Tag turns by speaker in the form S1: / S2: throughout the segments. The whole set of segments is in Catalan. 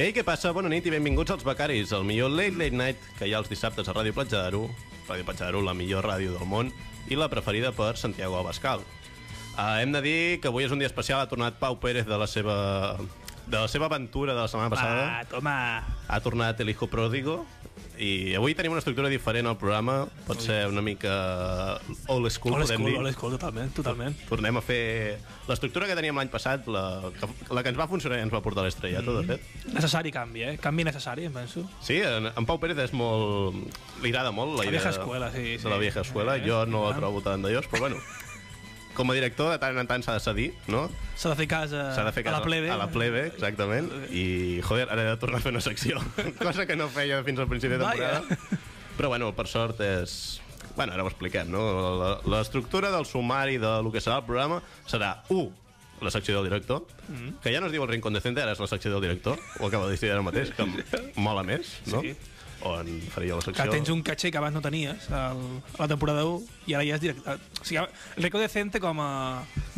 S1: Ei, què passa? Bona nit i benvinguts als Becaris, el millor Late Late Night que hi ha els dissabtes a Ràdio Platja d'Aro, Ràdio Platja d'Aro, la millor ràdio del món i la preferida per Santiago Abascal. Uh, hem de dir que avui és un dia especial, ha tornat Pau Pérez de la seva, de la seva aventura de la setmana passada.
S2: Va, toma.
S1: Ha tornat El Hijo Pródigo i avui tenim una estructura diferent al programa, pot ser una mica old school,
S2: Old
S1: podem
S2: school,
S1: dir.
S2: old school, totalment, totalment.
S1: Tornem a fer l'estructura que teníem l'any passat, la que, la que ens va funcionar i ens va portar
S2: Mhm.
S1: l'estrella, tot, de fet.
S2: Necessari canvi, eh? Canvi necessari, em penso.
S1: Sí, en, en Pau Pérez és molt... Li agrada molt la,
S2: La
S1: idea
S2: vieja escuela, sí, sí.
S1: de la vieja escuela.
S2: Eh,
S1: jo no la
S2: clar.
S1: trobo tan d'allòs, però bueno. Com a director, de tant en tant s'ha de cedir, no?
S2: S'ha de fer cas a,
S1: S'ha de fer
S2: a
S1: cas
S2: la plebe.
S1: A la plebe, exactament. I, joder, ara he de tornar a fer una secció. Cosa que no feia fins al principi de
S2: Vaja.
S1: temporada. Però, bueno, per sort és... Bueno, ara ho expliquem, no? La- L'estructura del sumari de lo que serà el programa serà 1 la secció del director, mm. que ja no es diu el Rincón Decente, ara és la secció del director, ho acaba de decidir ara mateix, que em mola més, no?
S2: Sí.
S1: On faré jo la secció...
S2: Que tens un caché que abans no tenies al, a la temporada 1 i ara ja és director. O sigui, el record decente com a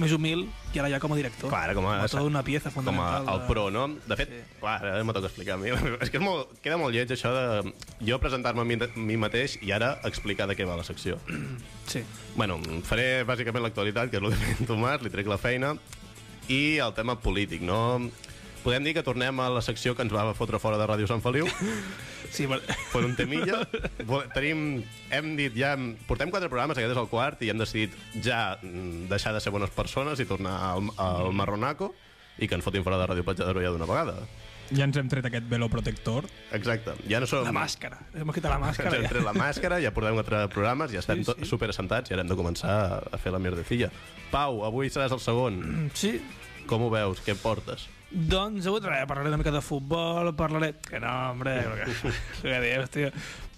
S2: més humil i ara ja com a director.
S1: Clar, com a,
S2: Com tota una pieza fundamental.
S1: Com a, el
S2: de-
S1: pro, no? De fet, sí.
S2: Sí.
S1: clar, ara m'ho toca explicar a mi. És que és molt, queda molt lleig això de jo presentar-me a mi, a mi mateix i ara explicar de què va la secció.
S2: Sí.
S1: bueno, faré bàsicament l'actualitat, que és el que feia en Tomàs, li trec la feina, i el tema polític, no? Podem dir que tornem a la secció que ens va fotre fora de Ràdio Sant Feliu
S2: Sí, però...
S1: per un temilla. Vol- Tenim, hem dit ja, portem quatre programes, aquest és el quart, i hem decidit ja mm, deixar de ser bones persones i tornar al, al marronaco i que ens fotin fora de Ràdio Platja d'Aro ja d'una vegada.
S3: Ja ens hem tret aquest velo protector.
S1: Exacte. Ja no som...
S2: La màscara. Hem quitat la
S1: Ens
S2: màscara.
S1: hem
S2: Ja.
S1: tret la màscara, ja portem quatre programes, ja estem
S2: Sí,
S1: sí,
S2: sí.
S1: sí. super assentats i ara hem de començar a, a fer la mierdecilla. Pau, avui seràs el segon.
S2: Sí.
S1: Com ho veus? Què portes?
S2: Doncs avui res, parlaré una mica de futbol, parlaré... Que no, hombre, que, que dius, tio.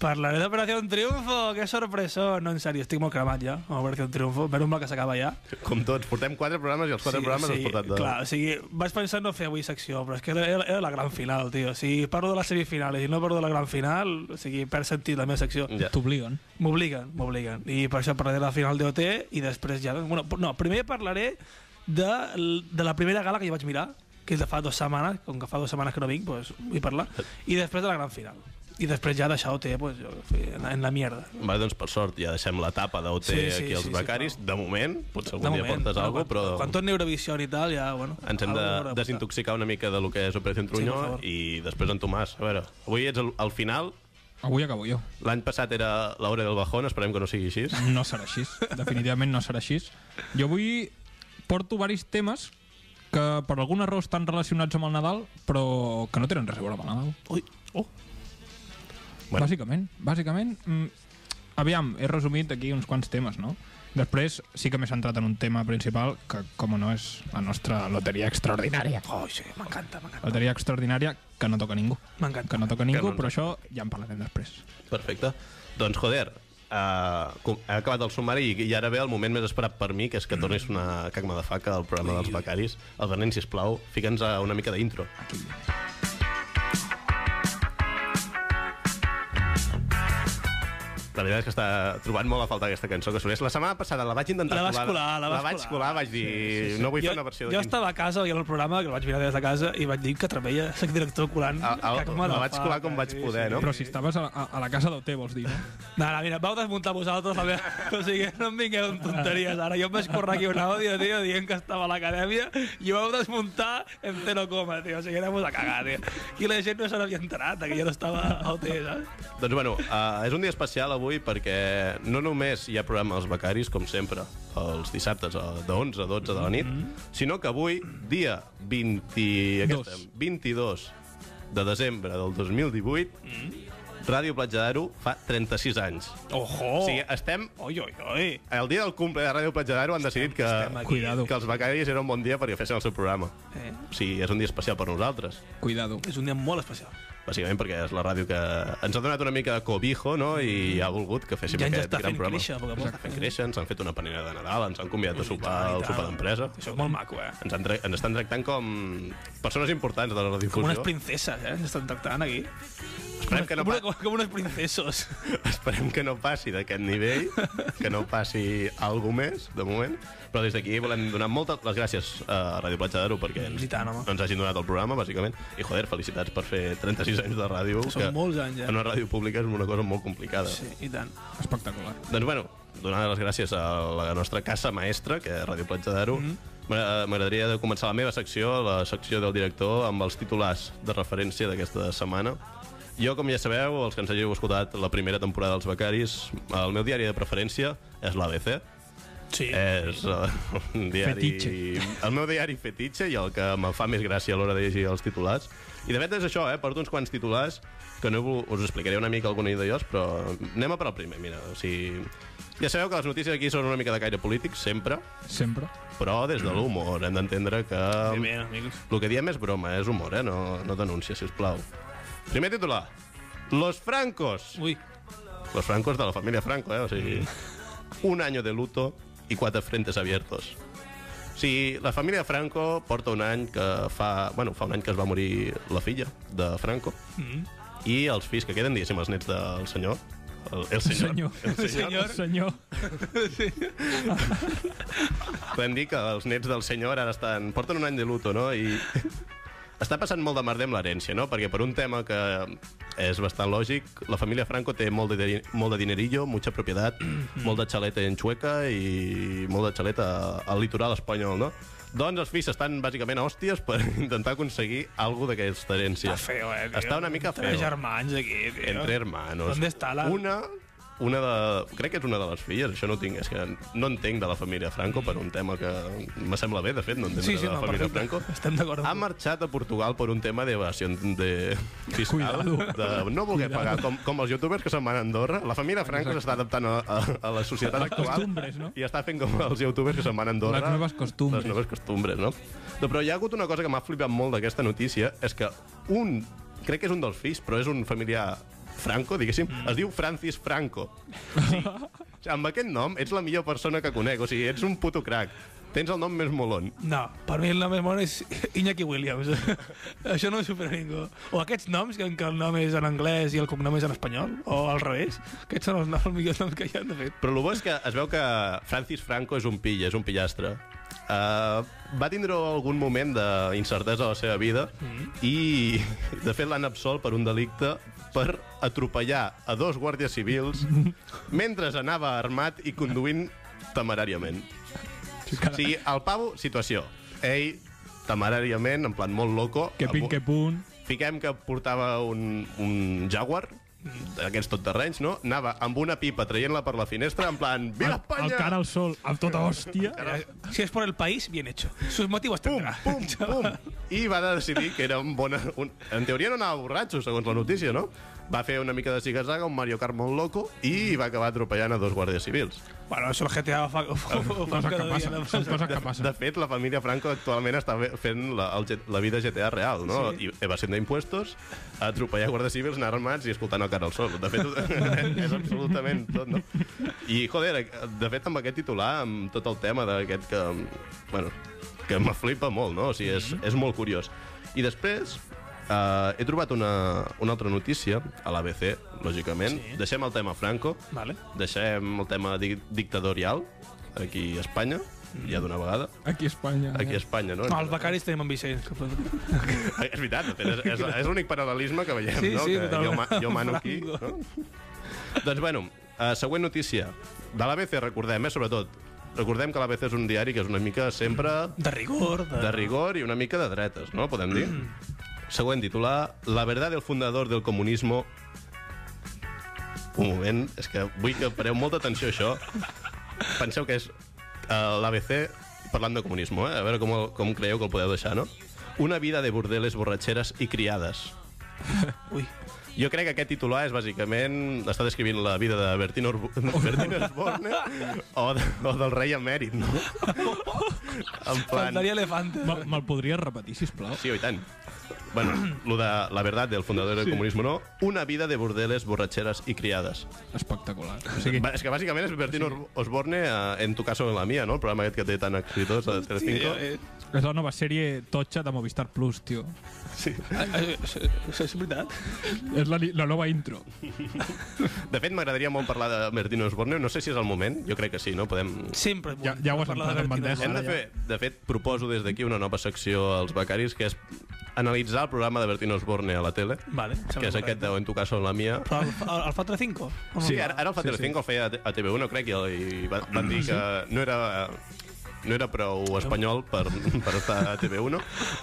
S2: Parlaré d'Operación Triunfo, que sorpresó. No, en sèrio, estic molt cremat ja, amb Operación Triunfo. Menys mal que s'acaba ja.
S1: Com tots, portem quatre programes i els quatre programes
S2: sí,
S1: els portat de...
S2: Clar, o sigui, vaig pensar no fer avui secció, però és que era, era la gran final, tio. Si parlo de les semifinals i no parlo de la gran final, o sigui, perd sentit la meva secció.
S1: Ja.
S3: T'obliguen.
S2: M'obliguen, m'obliguen. I per això parlaré de la final d'OT i després ja... Bueno, no, primer parlaré de, l- de la primera gala que jo vaig mirar, que és de fa dues setmanes, com que fa dues setmanes que no vinc, doncs vull parlar, i després de la gran final. I després ja deixar OT pues, jo, en la- en la mierda.
S1: Va, doncs per sort ja deixem l'etapa d'OT sí, sí, aquí als sí,
S2: sí,
S1: becaris,
S2: Pau.
S1: de moment, potser algun
S2: De
S1: dia
S2: moment,
S1: portes
S2: no,
S1: alguna
S2: quan,
S1: però
S2: Quan torni Eurovisió i tal, ja, bueno...
S1: ens hem
S2: alguna hauré
S1: de
S2: portar.
S1: desintoxicar una mica de lo que és Operació
S2: Sí, per
S1: Trunyó
S2: favor.
S1: i després en Tomàs. A veure, avui ets al, al final,
S3: Avui acabo jo.
S1: l'any passat era l'hora del bajón, esperem que no sigui així.
S3: No serà així. Definitivament no serà així. Jo avui porto varis temes que per algun error estan relacionats amb el Nadal, però que no tenen res a veure amb el Nadal.
S2: Ui, oh,
S1: Bueno.
S3: Bueno. Bàsicament, bàsicament... Mm, aviam, he resumit aquí uns quants temes, no? Després sí que m'he centrat en un tema principal que, com no, és la nostra loteria extraordinària.
S2: oh sí, m'encanta, m'encanta.
S3: Loteria extraordinària que no toca ningú.
S2: M'encanta.
S3: Que no toca ningú,
S1: no-
S3: però això ja en parlarem després.
S1: Perfecte. Doncs, joder, uh, com- ha acabat el sumari i, i ara ve el moment més esperat per mi, que
S2: Mm.
S1: és que tornis una cacma de faca al programa dels becaris. El Benet, sisplau, fica'ns eh, una mica d'intro.
S3: Aquí.
S1: La veritat és que està trobant molt a faltar aquesta cançó que sonés. La setmana passada la vaig intentar
S2: La vas colar, la vas
S1: vaig colar, vaig dir... Sí, sí, sí. No vull
S2: jo,
S1: fer una versió
S2: jo
S1: d'aquí.
S2: estava a casa veient el programa, que el vaig mirar des de casa, i vaig dir que treballa, soc director colant.
S1: El- el-
S2: que com me
S1: Ah, la vaig
S2: fa,
S1: colar com
S2: eh,
S1: vaig poder, no?
S3: Però si estaves a, a, a la casa d'Ote, vols dir, no?
S2: No, no, mira, vau desmuntar vosaltres la meva... O sigui, no em vingueu amb tonteries. Ara jo em vaig córrer aquí un àudio, tio, dient que estava a l'acadèmia i ho vau desmuntar en zero coma, tio. O sigui, anem a cagar, tio. I la gent no se n'havia enterat, que jo no estava a OT, saps?
S1: Doncs bueno, uh, és un dia especial avui perquè no només hi ha programa als becaris, com sempre, els dissabtes eh, de 11 a 12 de la nit,
S2: Mhm.
S1: sinó que avui, dia 20, aquest,
S3: Dos.
S1: 22 de desembre del 2018,
S2: Mhm.
S1: Ràdio Platja d'Aro fa 36 anys.
S2: Ojo!
S1: O sigui, estem...
S2: Oi, oi, oi.
S1: El dia del cumple de Ràdio Platja d'Aro han decidit que,
S2: Oh. estem aquí.
S3: Cuidado.
S1: que els becaris era un bon dia perquè fessin el seu programa.
S2: Eh,
S1: O sigui, és un dia especial per nosaltres.
S3: Cuidado.
S2: és un dia molt especial.
S1: Bàsicament perquè és la ràdio que ens ha donat una mica de cobijo, no? I ha volgut que féssim
S2: Mm. ja ens
S1: aquest
S2: està
S1: gran
S2: fent
S1: programa.
S2: créixer, a poc a poc.
S1: Fent créixer, ens han fet una panera de Nadal, ens han convidat a sopar
S2: I
S1: al
S2: tant.
S1: sopar d'empresa.
S2: Això és molt maco, eh?
S1: Ens, han tra- ens estan tractant com persones importants de la
S2: Com
S1: radiodifusió.
S2: unes princeses, eh? S'estan tractant aquí.
S1: Esperem que no,
S2: com, una-
S1: pa-
S2: com, com unos princesos.
S1: esperem que no passi d'aquest nivell, que no passi algo més, de moment. Però des d'aquí volem donar moltes les gràcies a Ràdio Platja d'Aro perquè ens,
S2: I tant, home.
S1: ens hagin donat el programa, bàsicament. I, joder, felicitats per fer 36 anys de ràdio.
S2: Són molts anys, ja.
S1: En una ràdio pública és una cosa molt complicada.
S2: Sí, i tant.
S3: Espectacular.
S1: Doncs bueno, donar les gràcies a la nostra casa maestra, que és Ràdio Platja d'Aro, M'agra- m'agradaria de començar la meva secció, la secció del director, amb els titulars de referència d'aquesta setmana. Jo, com ja sabeu, els que ens hàgiu escoltat la primera temporada dels Becaris, el meu diari de preferència és l'ABC.
S2: Sí.
S1: És eh, un diari...
S3: Fetitxe.
S1: El meu diari fetitxe i el que me fa més gràcia a l'hora de llegir els titulars. I de fet és això, eh? Porto uns quants titulars que no he vol- us explicaré una mica alguna d'ells, però anem a per el primer, mira. O sigui, ja sabeu que les notícies aquí són una mica de caire polític, sempre,
S3: Sempre.
S1: però des de l'humor. Hem d'entendre que...
S2: Bé, bé, amigos.
S1: El que diem és broma, és humor, eh? No, no denúncia, sisplau. Primer titular. Los francos.
S2: Ui,
S1: Los francos de la familia Franco, ¿eh? O sigui, un año de luto y cuatro frentes abiertos. Sí, la família Franco porta un any que fa... Bueno, fa un any que es va morir la filla de Franco.
S2: Mhm.
S1: I els fills que queden, diguéssim, els nets del senyor... El, el senyor.
S3: Senyor.
S1: El senyor.
S3: Senyor. Senyor.
S1: Podem dir que els nets del senyor ara estan... Porten un any de luto, no? I està passant molt de merda amb l'herència, no? Perquè per un tema que és bastant lògic, la família Franco té molt de, deri- molt de dinerillo, mucha propietat, molt de xaleta en Xueca i molt de xaleta al litoral espanyol, no? Doncs els fills estan bàsicament a hòsties per intentar aconseguir alguna d'aquesta herència.
S2: està feo, eh, tio.
S1: Està una mica
S2: Tres
S1: feo.
S2: germans aquí, tio.
S1: Entre hermanos.
S2: ¿Dónde está la-
S1: Una, una de... Crec que és una de les filles, això no ho tinc. És que no entenc de la família Franco per un tema que... Me sembla bé, de fet, no entenc
S2: Sí, sí,
S1: de la
S2: no,
S1: família
S2: perfecte.
S1: Franco.
S2: Estem d'acord.
S1: Ha marxat a Portugal per un tema d'evasió de fiscal.
S3: Cuidado.
S1: De no voler pagar, com, com els youtubers que se'n van a Andorra. La família Franco s'està adaptant a, a, a la societat
S3: Les
S1: actual.
S3: costumbres, no?
S1: I està fent com els youtubers que se'n van a Andorra.
S3: Les noves costumbres.
S1: Les noves costumbres, no? No, però hi ha hagut una cosa que m'ha flipat molt d'aquesta notícia, és que un, crec que és un dels fills, però és un familiar franco, diguéssim, mm. es diu Francis Franco. Sí. Amb aquest nom ets la millor persona que conec, o sigui, ets un puto crac. Tens el nom més molon.
S2: No, per mi el nom més mono és Iñaki Williams. Això no ho supera ningú. O aquests noms, que- en què el nom és en anglès i el cognom és en espanyol, o al revés. Aquests són els, noms, els millors noms que hi han, de fet.
S1: Però el bo és que es veu que Francis Franco és un pilla, és un pillastre. Uh, va tindre algun moment d'incertesa a la seva vida mm. i, de fet, l'han absolt per un delicte per atropellar a dos guàrdies civils mentre anava armat i conduint temeràriament. O sigui, el pavo, situació. Ell, temeràriament, en plan molt loco...
S3: Que
S1: amb
S3: pin,
S1: un-
S3: que punt.
S1: Fiquem que portava un, un Jaguar, d'aquests tot terrenys, no? Anava amb una pipa traient-la per la finestra, en plan,
S3: El,
S1: viva
S3: el
S1: Espanya!
S3: cara al sol, amb tota hòstia.
S2: Si és per el país, bien hecho. Sus motivos
S1: Pum,
S2: tendrá.
S1: pum, pum! I va decidir que era un bon... Un... En teoria no anava borratxo, segons la notícia, no? Va fer una mica de zigazaga, un Mario Kart molt loco, i va acabar atropellant a dos guàrdies civils.
S2: Bueno, eso el GTA ho fa, ho fa, ho fa
S3: Coses
S2: cada
S3: que
S2: dia.
S3: passen,
S2: no?
S3: són coses que
S1: De
S3: passen.
S1: fet, la família Franco actualment està ve- fent la, el, G- la vida GTA real, no? Sí. I evasió d'impuestos, atropellar guardes civils, anar armats i escoltant el cara al sol. De fet, és absolutament tot, no? I, joder, de fet, amb aquest titular, amb tot el tema d'aquest que... Bueno, que me flipa molt, no? O sigui, és, és molt curiós. I després... Uh, he trobat una, una altra notícia a l'ABC, lògicament.
S2: Sí.
S1: Sí. Deixem el tema Franco,
S2: Vale.
S1: deixem el tema di dictatorial aquí a Espanya,
S2: Mm-hmm.
S1: ja d'una vegada
S3: Aquí a Espanya.
S1: aquí a Espanya, no?
S2: No, els becaris tenim en Vicenç. que poden-
S1: És veritat, de fet, és, és, és l'únic paral·lelisme que veiem,
S2: Sí,
S1: no?
S2: sí,
S1: que jo,
S2: totalment.
S1: ma- jo mano aquí, no? doncs, bueno, uh, següent notícia. De l'ABC, recordem, eh, sobretot. Recordem que l'ABC és un diari que és una mica sempre
S2: De rigor. De...
S1: de rigor i una mica de dretes, no? Podem dir. Següent titular. La verdad del fundador del comunismo... Un moment, és que vull que pareu molta atenció a això. Penseu que és eh, l'ABC parlant de comunisme, eh? A veure com, el- com creieu que el podeu deixar, no? Una vida de bordeles, borratxeres i criades.
S2: Ui.
S1: Jo crec que aquest titular és bàsicament... Està descrivint la vida de Bertino, Orb... Bertino Osborne o, de, o del rei emèrit, no? en plan...
S2: Faltaria elefante.
S3: Me'l podries repetir, sisplau?
S1: Sí, oi tant. Bueno, lo de la verdad del fundador del comunismo, no. Una vida de burdeles, borracheras y criadas.
S3: Espectacular. O sigui,
S1: Va, És que bàsicament és Bertín Or- Osborne, eh, en tu cas o en la mia, no? El programa aquest que té tan exitós a Telecinco.
S3: eh,
S2: Eh,
S3: és la nova sèrie totxa de Movistar Plus, tio.
S2: eh, Això és veritat?
S3: És la, ni- la nova intro.
S1: De fet, m'agradaria molt parlar de Bertín Osborne. No sé si és el moment, jo crec que sí, no? Podem...
S2: Sempre és
S3: Ja-
S2: bonic
S3: ja ho has
S2: parlar de
S3: entrat en
S2: Bertino
S3: bandeja,
S1: Hem
S2: Osborne.
S1: de fer... De fet, proposo des d'aquí una nova secció als becaris, que és analitzar el programa de Bertín Osborne a la tele,
S2: Vale, em sembla
S1: que és
S2: correcte.
S1: aquest de En tu cas o en la mia.
S2: Però el, el, el fa 3-5?
S1: Sí, ara, ara el fa Telecinco, el feia a T- a TV1, crec, i, el- i va- van dir que no era no era prou espanyol per, per estar a TV1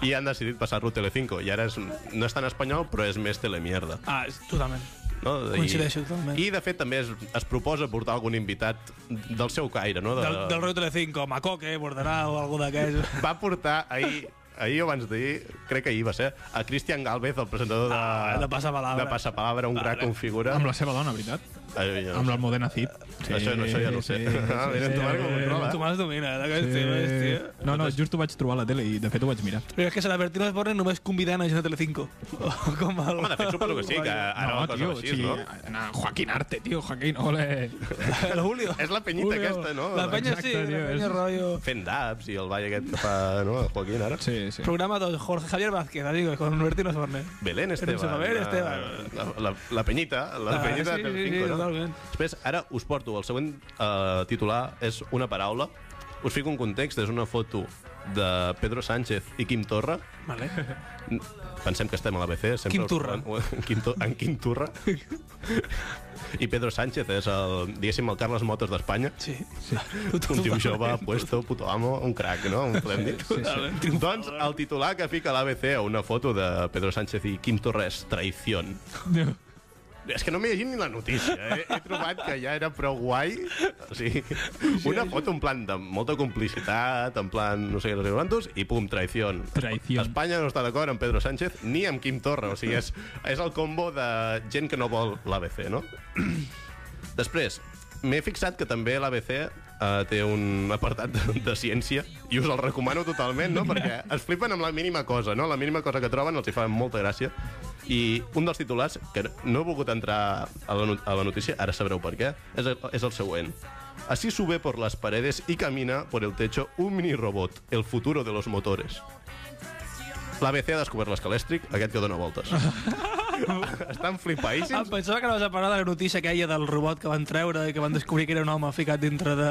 S1: i han decidit passar-lo a Telecinco i ara és, no és tan espanyol però és més telemierda
S2: Ah, és- totalment.
S1: no?
S2: Coincideixo totalment.
S1: i de fet també es, es proposa portar algun invitat del seu caire no? de,
S2: Del, del rotllo Telecinco, Macoque, Bordarà o algú d'aquests.
S1: va portar ahir ahir o abans d'ahir, crec que ahir va ser, a Cristian Galvez, el presentador de,
S2: Ah, de Pasapalabra.
S1: de Pasapalabra, un gran configura.
S3: Amb la seva dona, veritat?
S1: Ai, no
S3: Amb
S1: Ah. sé.
S3: l'Almodena Cid.
S1: Això no, això ja no ho sé. Ah, mira, tu, Marc, com ho trobes.
S2: Tu me'ls domina, d'aquests sí. temes,
S3: Sí.
S2: tio.
S3: No, no, just ho vaig trobar a la tele i de fet ho vaç mirar.
S2: Però és que se la Bertino Osborne només convidant a gent de Telecinco. O com el...
S1: Home, de fet, suposo que sí, que ara no,
S3: tio,
S1: cosa així,
S3: sí,
S1: no?
S3: no, Joaquín Arte, tio, Joaquín, ole.
S2: El Julio.
S1: És la penyita
S3: Julio.
S1: aquesta, no?
S2: La penya sí,
S3: Exacte,
S2: la
S3: tio,
S2: penya
S3: és-
S2: rotllo...
S1: fent dabs i el ball aquest que fa no, el Joaquín ara. Sí.
S3: Sí, sí.
S2: Programa de Jorge Javier Vázquez, digo, con Bertino Osborne.
S1: Belén Esteban.
S2: Belén
S1: la-
S2: Esteban.
S1: La, la, la penyita, la
S2: Ah,
S1: penyita
S2: sí,
S1: del
S2: sí, sí,
S1: Cinco, no?
S2: totalment.
S1: Després, ara us porto, el següent eh, titular és una paraula. Us fico un context, és una foto de Pedro Sánchez i Quim Torra.
S2: Vale.
S1: Pensem que estem a l'ABC. sempre
S2: Quim
S1: us-
S2: Turra.
S1: En, Quim Tor- en Quim Turra. I Pedro Sánchez és el, diguéssim, el Carles Motos d'Espanya.
S2: Sí.
S1: Un tio jove, puesto, puto amo, un crac, no? Un podem dir.
S2: Totalment.
S1: Doncs el titular que fica l'ABC a una foto de Pedro Sánchez i Quim Torres, traïción.
S3: Déu.
S1: És que no m'he llegit ni la notícia. eh? He, he trobat que ja era prou guai. O sigui, una foto en plan de molta complicitat, en plan no sé què, no sé quantos, i pum, traïción.
S3: Traïción.
S1: Espanya no està d'acord amb Pedro Sánchez ni amb Quim Torra. O sigui, és, és el combo de gent que no vol l'ABC, no? Després, m'he fixat que també l'ABC eh, té un apartat de, de ciència i us el recomano totalment, no? Perquè es flipen amb la mínima cosa, no? La mínima cosa que troben els hi fa molta gràcia. I un dels titulars, que no he volgut entrar a la, no- a la notícia, ara sabreu per què, és el, és el següent. Así sube por las paredes y camina por el techo un mini robot, el futuro de los motores. L'ABC ha descobert l'escalèstric, aquest que dona voltes. Estan
S2: Ah,
S1: flipaíssims.
S2: pensava que no vas a parlar de la notícia aquella del robot que van treure i que van descobrir que era un home ficat dintre de...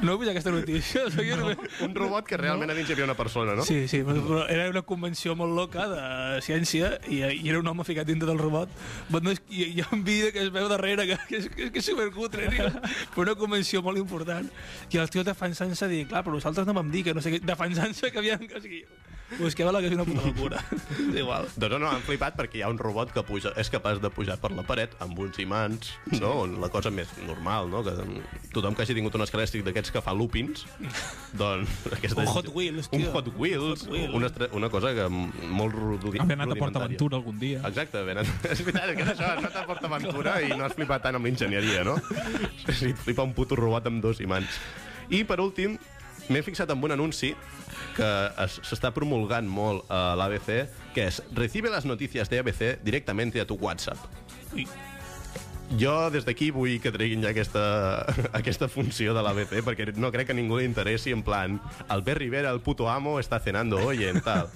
S2: No heu vist aquesta notícia? No.
S1: Un robot que realment a dins hi havia una persona, no?
S2: Sí, sí, però però era una convenció molt loca de ciència i, i era un home ficat dintre del robot. Però no és, hi, hi ha un vídeo que es veu darrere que, que, és, que, és, que és supercutre, tio. però una convenció molt important. I el tio defensant-se dient, clar, però vosaltres no vam dir que no sé què... Defensant-se que havien... O sigui, busqueu la que és una puta locura. és igual.
S1: Doncs no, no, han flipat perquè hi ha un robot que puja, és capaç de pujar per la paret amb uns imants, no? La cosa més normal, no? Que tothom que hagi tingut un escalèstic d'aquests que fa loopings, doncs... Aquesta,
S2: Un Hot Wheels,
S1: Un
S2: tio.
S1: Hot Wheels,
S2: Hot Wheels.
S1: una, estra- una cosa que m- molt rudi-
S3: Hem anat a
S1: rudimentària.
S3: PortAventura algun dia.
S1: Exacte, ben, és veritat, és que això has anat a PortAventura i no has flipat tant amb l'enginyeria, no? Si et flipa un puto robot amb dos imants. I, per últim, m'he fixat en un anunci que es- s'està promulgant molt a l'ABC, que és Recibe las noticias de ABC directamente a tu WhatsApp.
S2: Ui.
S1: Jo des d'aquí vull que treguin ja aquesta, aquesta funció de l'ABC, perquè no crec que a ningú li interessi en plan Albert Rivera, el puto amo, està cenando hoy, en tal.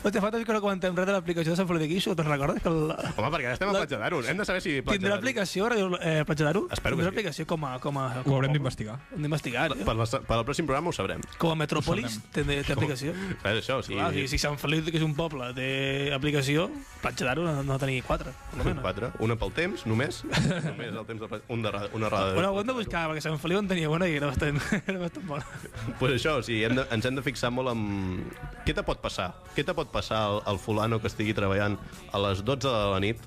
S2: Hòstia, fa temps que no comentem res de l'aplicació de Sant Feliu de Guixo, te'n recordes? Que el...
S1: Home, perquè ara estem a
S2: La-
S1: Platja d'Aro, hem de saber si Platja
S2: Tindrà
S1: d'Aro-
S2: aplicació, Radio- eh, Platja d'Aro?
S1: Espero que
S2: Tindrà
S1: sí.
S2: aplicació com a... Com a com a
S3: Ho
S2: poble.
S3: haurem d'investigar.
S2: Hem d'investigar, eh?
S1: Per, la, per al pròxim programa ho sabrem.
S2: Com a Metròpolis té, té aplicació.
S1: Saps això? O sigui,
S2: Clar, si, si Sant Feliu, que és un poble, té aplicació, Platja d'Aro no, no tenia quatre, per lo menos.
S1: Quatre. Una pel temps, només. només el temps de... pla- Un de, ra- una rada.
S2: Bueno, ho hem de buscar, perquè Sant Feliu en tenia una i era bastant, era bastant bona.
S1: pues això, o sigui, hem de, ens hem de fixar molt en... Què te pot passar? Què te pot passar al, al fulano que estigui treballant a les 12 de la nit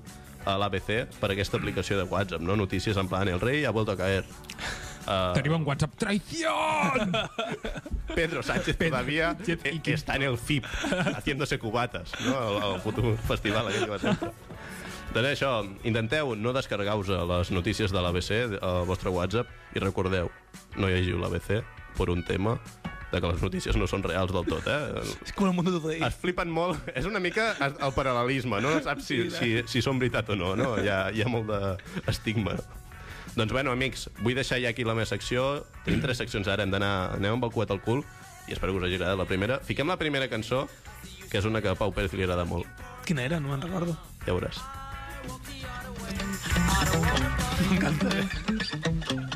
S1: a l'ABC per aquesta aplicació de WhatsApp, no? Notícies en plan, el rei ha vuelto a caer. Uh,
S3: Tenim un WhatsApp. Traïción!
S1: Pedro Sánchez todavía eh, está en el FIP, haciéndose cubatas, no? El, el puto festival aquell que va sempre. Doncs això, intenteu no descarregar-vos les notícies de l'ABC al vostre WhatsApp i recordeu, no llegiu l'ABC per un tema de que les notícies no són reals del tot, eh?
S2: És com el món de tot ahí.
S1: Es flipen molt. És una mica el paral·lelisme, no? No saps si, si,
S2: eh?
S1: si són veritat o no, no? Hi ha, hi ha molt d'estigma. Doncs bueno, amics, vull deixar ja aquí la meva secció. Tenim tres seccions ara, hem d'anar... Anem amb el cuet al cul i espero que us hagi agradat la primera. Fiquem la primera cançó, que és una que a Pau Pérez li agrada molt.
S2: Quina era? No me'n recordo.
S1: Ja veuràs.
S2: M'encanta. eh?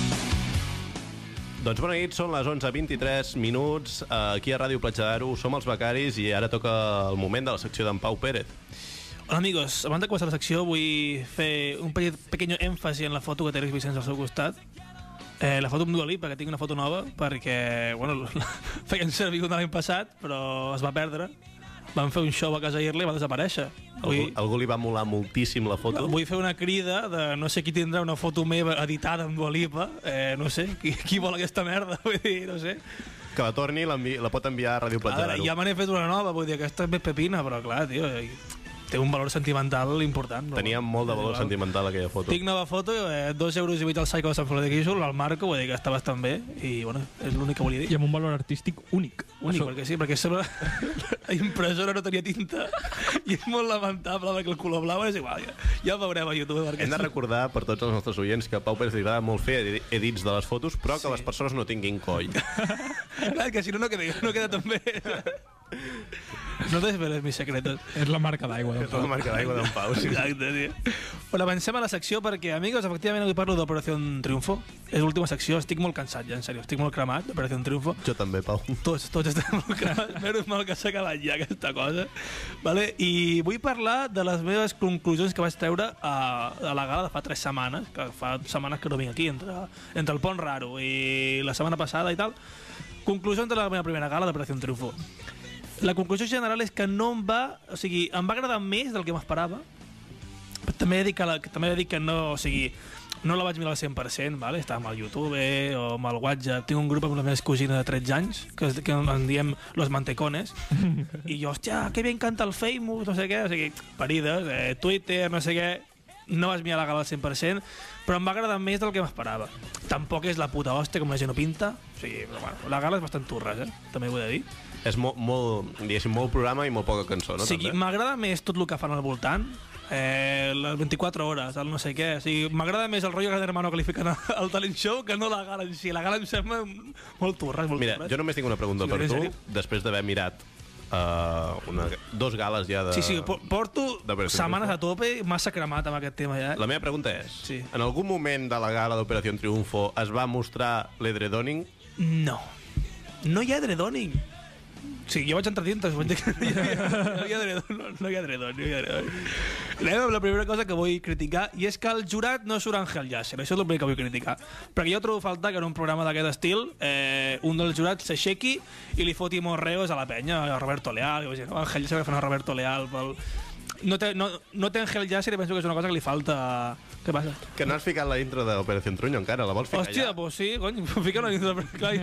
S1: Doncs bona nit, són les 11.23 minuts. eh, Aquí a Ràdio Platja d'Aro som els becaris i ara toca el moment de la secció d'en Pau Pérez.
S2: Hola amigos, abans de començar la secció vull fer un petit, pequeño èmfasi en la foto que té Alex Vicenç al seu costat. Eh, la foto amb Dua Lipa, que tinc una foto nova, perquè, bueno, la feien servir una l'any passat, però es va perdre. Van fer un show a casa Irla i va desaparèixer.
S1: Algú,
S2: Avui,
S1: algú li va molar moltíssim la foto.
S2: Eh, vull fer una crida de no sé qui tindrà una foto meva editada amb Dua Lipa, eh, no sé, qui, qui vol aquesta merda, vull dir, no sé.
S1: Que la torni i l'envi- la pot enviar a Ràdio Platja
S2: Ara,
S1: d'Aro.
S2: ja me n'he fet una nova, vull dir, aquesta és més pepina, però clar, tio, eh, té un valor sentimental important. però
S1: Tenia
S2: bueno,
S1: molt de
S2: és
S1: valor
S2: igual.
S1: sentimental aquella foto.
S2: Tinc nova foto, eh, dos euros i mig al Psycho de Sant Feliu de Guíxol, el Marco, vull dir que està bastant bé, i bueno, és l'únic que volia
S3: I
S2: dir.
S3: amb un valor artístic únic.
S2: Únic,
S3: Això-
S2: perquè sí, perquè sembla... la impressora no tenia tinta, i és molt lamentable, perquè el color blau és igual, ja, ja ho veurem a YouTube, perquè...
S1: Hem de
S2: és-
S1: recordar per tots els nostres oients que a Pau Pérez li agrada molt fer edi- edits de les fotos, però que les persones no tinguin coll.
S2: Clar, que si no, no queda, no queda tan bé. no desveles mis secretos.
S3: És la marca d'aigua. del
S2: Tota
S1: És la marca d'aigua d'en Pau. Sí.
S2: Exacte, tio. Bueno, avancem a la secció perquè, amigos, efectivament avui parlo d'Operació Triunfo. És l'última secció, estic molt cansat ja, en sèrio, estic molt cremat d'Operació Triunfo.
S1: Jo també, Pau.
S2: Tots, tots estem molt cremats, menys mal que s'ha acabat ja aquesta cosa. Vale? I vull parlar de les meves conclusions que vaig treure a, a la gala de fa tres setmanes, que fa setmanes que no vinc aquí, entre, entre el pont raro i la setmana passada i tal. Conclusions de la meva primera gala d'Operació Triunfo. La conclusió general és que no em va... O sigui, em va agradar més del que m'esperava, però també he dit que, la, que també he dit que no, o sigui, no la vaig mirar al 100%, vale? estava amb el YouTube eh, o amb el WhatsApp. Tinc un grup amb la meva cosina de 13 anys, que, es- que en diem Los Mantecones, i jo, hòstia, que bien canta el Famous, no sé què, o sigui, parides, eh, Twitter, no sé què... No vaig mirar la gala al 100%, però em va agradar més del que m'esperava. Tampoc és la puta hòstia com la gent ho pinta, o sigui, però bueno, la gala és bastant turres, eh? també ho he de dir.
S1: És molt, molt, diguéssim, molt programa i molt poca cançó, no?
S2: O sigui,
S1: També?
S2: m'agrada més tot el que fan al voltant, eh, les 24 hores, el no sé què. O sigui, m'agrada més el rotllo Gran Hermano que li fiquen al talent show que no la gala en si. La gala em sembla molt turra, molt
S1: Mira,
S2: turra.
S1: jo només tinc una pregunta
S2: Sí,
S1: per
S2: en
S1: tu,
S2: sèrio?
S1: després d'haver mirat uh, una, dos gales ja de...
S2: Sí, sí, po- porto
S1: de Operación
S2: setmanes a
S1: Triunfo.
S2: tope, massa cremat amb aquest tema ja.
S1: La meva pregunta és,
S2: Sí.
S1: en algun moment de la gala d'Operació Triunfo es va mostrar l'Edredoning?
S2: No. No hi ha dredoning. Sí, jo vaig entrar dintres, vaig dir que no hi ha- no hi ha dredoning. No, no hi ha dredoning, no hi ha dredoning. Anem amb la primera cosa que vull criticar, i és que el jurat no surt Ángel Yasser, això és el primer que vull criticar. Perquè jo trobo falta que en un programa d'aquest estil eh, un dels jurats s'aixequi i li foti morreos a la penya, a Roberto Leal, i vaig dir, no, Ángel Yasser va fer a Roberto Leal, pel... No té, no, no té Ángel Yasser i penso que és una cosa que li falta... Què passa?
S1: Que no has ficat la intro d'Operació Truño encara, la vols ficar
S2: Hòstia,
S1: ja?
S2: pues sí, cony, fica una nit de... Clar,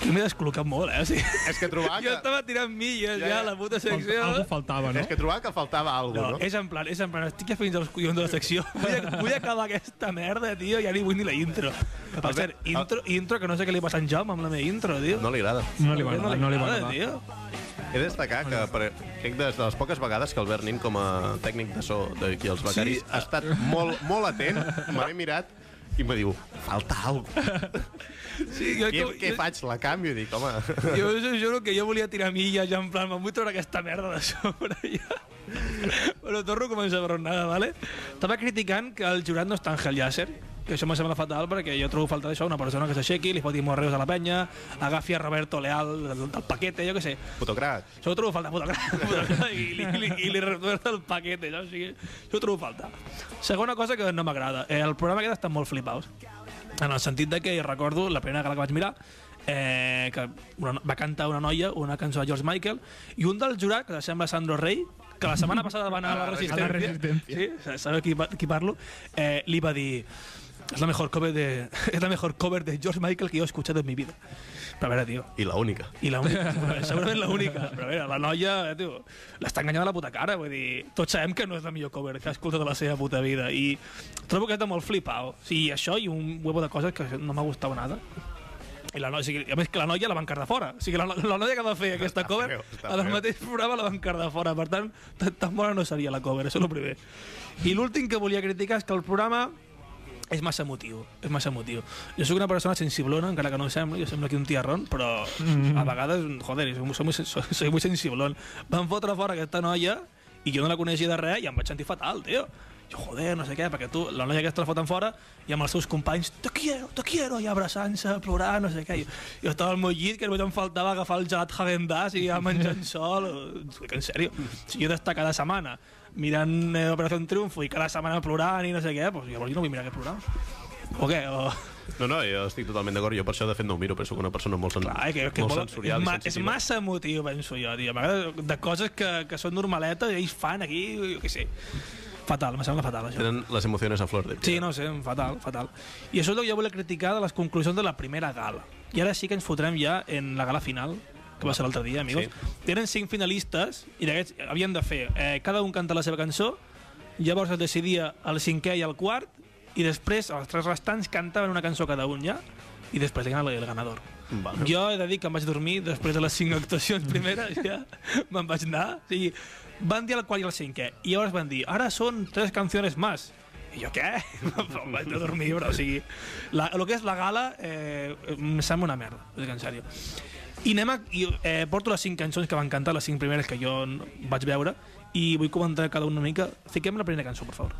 S2: Aquí m'he descol·locat molt, eh? O sigui,
S1: És que trobar
S2: jo
S1: Ah, que...
S2: estava tirant milles ja,
S1: Ja, ja.
S2: a la puta
S3: Fal-
S2: secció.
S3: Algú faltava, no?
S1: És que trobava que faltava alguna
S2: No,
S1: cosa, no?
S2: és en plan, és en plan, estic ja fins als collons de la secció. Vull, ac- vull acabar aquesta merda, tio, ja ni vull ni la intro. Que, per
S1: Albert,
S2: cert, intro, intro que no sé què li passa a en Jaume amb la meva intro, tio.
S1: No li agrada.
S3: No li va agradar, no li va
S2: agrada,
S3: agradar.
S2: tio.
S1: He de destacar que per, crec des de les poques vegades que Albert Nin com a tècnic de so d'aquí als becaris sí. ha estat molt, molt atent, me l'he mirat i em diu, falta alguna
S2: Sí, jo,
S1: Què,
S2: jo,
S1: què
S2: jo,
S1: faig? La canvio? Dic, home...
S2: jo, us juro que jo volia tirar milles, ja en plan, me'n vull treure aquesta merda de sobre, ja. Però torno a començar per on nada, vale? Estava criticant que el jurat no està Ángel Yasser, I això m'ha semblat fatal perquè jo trobo falta d'això, una persona que s'aixequi, li foti morreus a la penya, agafi a Roberto Leal del, del paquete, jo què sé.
S1: Putocrat.
S2: Això ho trobo falta, puta cara. Puta cara I li, li, i li retorna el paquete, això, o sigui, això ho trobo falta. Segona cosa que no m'agrada. Eh, el programa aquest està molt flipaus. En el sentit de que recordo la primera gala que vaig mirar, eh, que una, va cantar una noia una cançó de George Michael i un del jurat, que sembla Sandro Rey, que la setmana passada va anar a la Resistència,
S3: A la Resistència.
S2: Sí, sabeu qui, qui parlo, eh, li va dir es la mejor cover de es la mejor cover de George Michael que yo he escuchado en mi vida. Però a veure, tio,
S1: I la única.
S2: i la única, segurament l'única. Però a veure, la noia, eh, tio, l'està enganyant a la puta cara. Vull dir, tots sabem que no és la millor cover que ha escoltat a la seva puta vida. I trobo que està molt flipau. O sigui, això i un huevo de coses que no m'ha gustat nada. I la noia, o sigui, a més que la noia la van cardar fora. O sigui, la, no- la noia que va fer aquesta cover,
S1: feo, està
S2: en el
S1: feo.
S2: mateix programa la van cardar fora. Per tant, tan- tan bona no seria la cover, això és el primer. I l'últim que volia criticar és que el programa és massa emotiu, és massa emotiu. Jo sóc una persona sensiblona, encara que no ho sembli, jo semblo aquí un tiarrón, però a vegades, joder, soy, soy, muy, sen- soy, soy muy sensiblón. Van fotre fora aquesta noia i jo no la coneixia de res i em vaig sentir fatal, tio. Jo, joder, no sé què, perquè tu, la noia aquesta la foten fora i amb els seus companys, te quiero, te quiero, i abraçant-se, plorant, no sé què. Jo, jo estava al meu llit, que només em faltava agafar el gelat Haagen-Dazs i ja menjant sol. Dic, En sèrio, si jo he d'estar cada setmana mirant eh, Operació Triunfo i cada setmana plorant i no sé què, doncs llavors jo no vull mirar aquest programa. O què? O...
S1: No, no, jo estic totalment d'acord. Jo per això, de fet, no ho miro, però sóc una persona molt, sen
S2: Clar, eh, que, que
S1: molt
S2: molt, és,
S1: sensorial
S2: ma,
S1: i
S2: és
S1: sensible.
S2: massa emotiu, penso jo, tio. M'agrada de coses que, que són normaletes i ells fan aquí, jo què sé. Fatal, em sembla fatal, això.
S1: Tenen les emocions a flor de piel.
S2: Sí, no ho sé, fatal, fatal. I això és el que jo volia criticar de les conclusions de la primera gala. I ara sí que ens fotrem ja en la gala final, que va ser l'altre dia, amigos. Sí. Eren cinc finalistes i d'aquests havien de fer... Eh, cada un canta la seva cançó, llavors es decidia el cinquè i el quart, i després els tres restants cantaven una cançó cada un ja, i després era el, el ganador.
S1: Vale.
S2: Jo he de dir que em vaig dormir després de les cinc actuacions primeres, ja me'n vaig anar. O sigui, van dir el quart i el cinquè, i llavors van dir, ara són tres canciones més. I jo què? em vaig a dormir, però o sigui... La, el que és la gala eh, em sembla una merda, ho dic en sèrio. I anem a, i, eh, porto les cinc cançons que van cantar, les cinc primeres que jo n- vaig veure, i vull comentar cada una mica. Fiquem la primera cançó, per favor.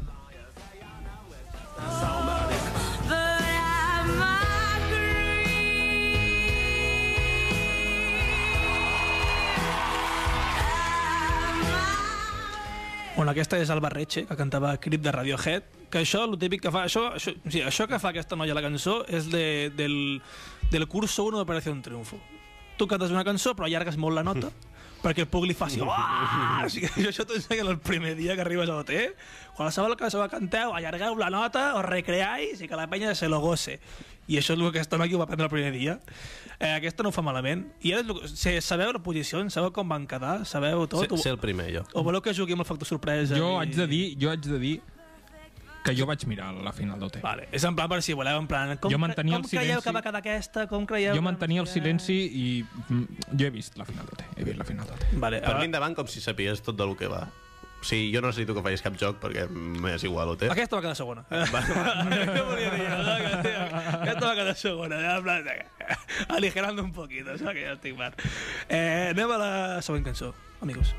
S4: But I'm
S2: Bueno, aquesta és el Barretxe, que cantava Crip de Radiohead, que això, el típic que fa... Això, això, o sigui, això que fa aquesta noia a la cançó és de, del, del curso 1 d'Operació un Triunfo. Tu cantes una cançó, però allargues molt la nota, perquè el públic li faci... "Uah!" O sigui, jo això t'ho ensenyen el primer dia que arribes a l'hotel. Qualsevol cançó que canteu, allargueu la nota, os recreais i que la penya se lo goce. I això és el que aquesta noia ho va aprendre el primer dia. Eh, aquesta no ho fa malament. I ara, és el que- se- sabeu la posició, sabeu com van quedar, sabeu tot?
S1: Ser,
S2: Ho-
S1: ser el primer, jo.
S2: o voleu que jugui amb el factor sorpresa?
S3: Jo
S2: i-
S3: haig de dir, jo haig de dir que jo vaig mirar la final d'OT.
S2: Vale, és en plan per si voleu, en plan... Com,
S3: Jo mantenia
S2: com
S3: el
S2: creieu
S3: silenci.
S2: que va quedar aquesta? Com creieu
S3: Jo
S2: que-
S3: mantenia el silenci i mm, jo he vist la final d'OT. He vist la final d'OT.
S2: Vale,
S1: Per mi
S2: ara,
S1: endavant com si sapies tot del que va. O sigui, jo no necessito que facis cap joc perquè m'és igual, ho té.
S2: aquesta va quedar segona.
S1: Eh,
S2: Què volia dir? Aquesta va quedar segona. ja, En plan, venga, aligerando un poquito, saps que ja estic mal. Eh, anem a la següent cançó, amigos.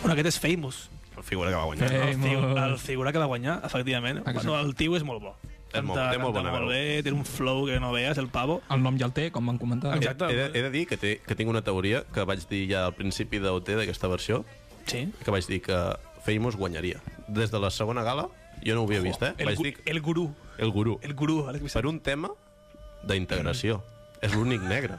S2: Bueno, aquest és Famous.
S1: La figura que va guanyar.
S3: Eh,
S2: El, figu
S3: molt.
S2: el figura que va guanyar, efectivament.
S3: Exacte.
S2: No, el tio és molt bo.
S1: Ah, És molt- té molt bona
S2: canta molt
S1: veu.
S2: bé, té un flow que no veus, el pavo.
S3: El nom ja el té, com van comentar.
S1: He,
S2: Exacte.
S1: he, de, he de dir que, té, que tinc una teoria que vaig dir ja al principi d'OT d'aquesta versió,
S2: Sí.
S1: que vaig dir que Famous guanyaria. Des de la segona gala, jo no ho havia vist, eh?
S2: El,
S1: vaig
S2: gu
S1: dir que
S2: el gurú.
S1: el gurú.
S2: El gurú, Àlex
S1: Per
S2: Vicent.
S1: un tema d'integració. És l'únic negre.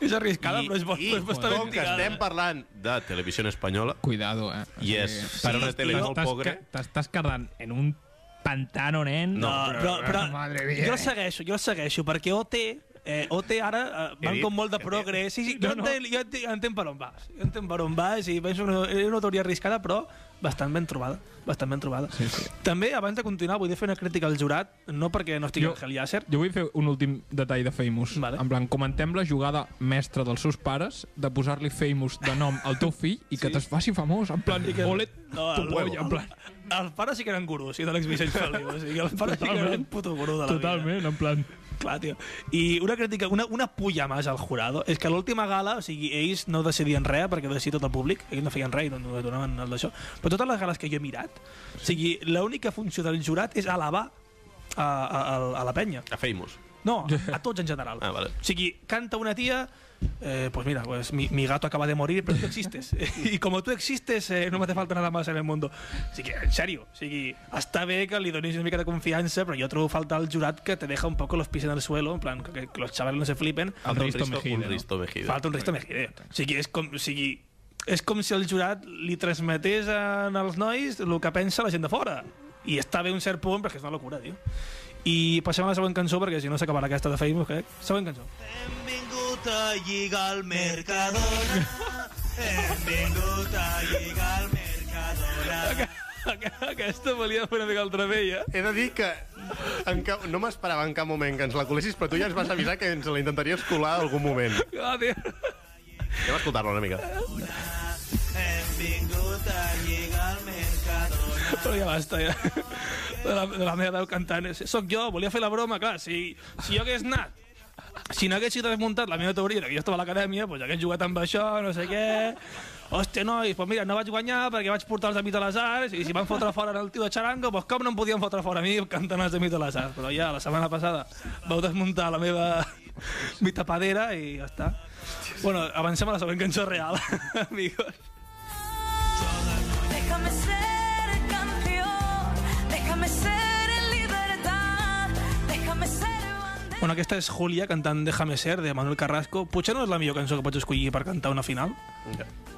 S2: És arriscada, però és bo.
S1: I
S2: però és bastant eh?
S1: com que
S2: tirada.
S1: estem parlant de televisió espanyola,
S3: Cuidado, eh?
S1: Yes.
S3: Sí,
S1: Per una
S3: sí,
S1: tele
S3: t'estàs
S1: molt pobre.
S3: ca- T'estàs quedant en un pantano, nen.
S2: No, però, però
S3: Madre mía.
S2: jo el segueixo, jo el segueixo, perquè OT, eh, OT ara eh,
S1: He
S2: van
S1: dit
S2: com molt de
S1: que-
S2: progrés. Sí, sí,
S3: No,
S2: jo,
S3: no.
S2: entenc, jo entenc, entenc per on vas. Jo entenc per on vas i penso que no, era una teoria arriscada, però bastant ben trobada. Bastant ben trobada.
S3: Sí, sí.
S2: També, abans de continuar, vull fer una crítica al jurat, no perquè no estigui
S3: Jo-
S2: jo... Angel Yasser,
S3: Jo vull fer un últim detall de Famous.
S2: Vale.
S3: En plan, comentem la jugada mestra dels seus pares de posar-li Famous de nom al teu fill i que te's faci famós. En plan, que... volet
S2: No,
S3: tu
S2: el-
S3: polla, en plan.
S2: Els pares sí que eren gurus, sí, de l'ex Vicenç Feliu. O sigui, els pares sí que eren
S3: Totalment.
S2: un puto guru de la vida.
S3: Totalment, en plan...
S2: Clar, tio. I una crítica, una, una pulla més al jurado és que a l'última gala, o sigui, ells no decidien res perquè ho decidia tot el públic, ells no feien res i no, no donaven el d'això, però totes les gales que jo he mirat, o sigui, l'única funció del jurat és alabar a, a, a, a la penya.
S1: A Famous.
S2: No, a tots en general.
S1: Ah, vale.
S2: O sigui, canta una tía, eh, pues mira, pues mi, mi gato acaba de morir, pero tú existes. y como tú existes, eh, no me hace falta nada más en el mundo. O sigui, en serio, o sigui, està bé que li donis una mica de confiança, però jo trobo falta el jurat que te deja un poco los pies en el suelo, en plan, que, que los chavales no se flipen.
S3: El
S1: Falta un
S3: Risto Mejide,
S1: Un
S3: no?
S1: Risto Mejide.
S2: Falta un Risto Mejide. O sigui, és com, o sigui, és com si el jurat li transmetés en els nois el que pensa la gent de fora. I està bé un cert punt, perquè és una locura, tio. I passem a la següent cançó, perquè si no s'acabarà aquesta de Facebook, crec. Següent cançó.
S5: Hem vingut a lligar al Mercadona. Hem vingut a lligar al Mercadona.
S2: Aquesta volia fer una mica altra vella.
S6: He de dir que en cap, no m'esperava en cap moment que ens la colessis, però tu ja ens vas avisar que ens la intentaries colar en algun moment.
S2: Ah, tio.
S1: Anem a escoltar-la una mica.
S5: Hem vingut a lligar al Mercadona.
S2: Però ja basta, ja. De la, de la meva veu cantant. és, Soc jo, volia fer la broma, clar. Si, si jo hagués anat si no haguessis desmuntat la meva teoria de que jo estava a l'acadèmia, doncs hagués jugat amb això, no sé què... Hòstia, nois, doncs mira, no vaig guanyar perquè vaig portar els amics de les arts i si van fotre fora el tio de xarango, doncs com no em podien fotre fora a mi cantant els amics de les arts? Però ja, la setmana passada vau desmuntar la meva mi tapadera i ja està. Bueno, avancem a la següent cançó real, amigos.
S4: Déjame ser el campeón, déjame ser en libertad, déjame ser bandera.
S2: Bueno, aquesta és Julia cantant Déjame ser, de Manuel Carrasco. Potser no és la millor cançó que pots escollir per cantar una final.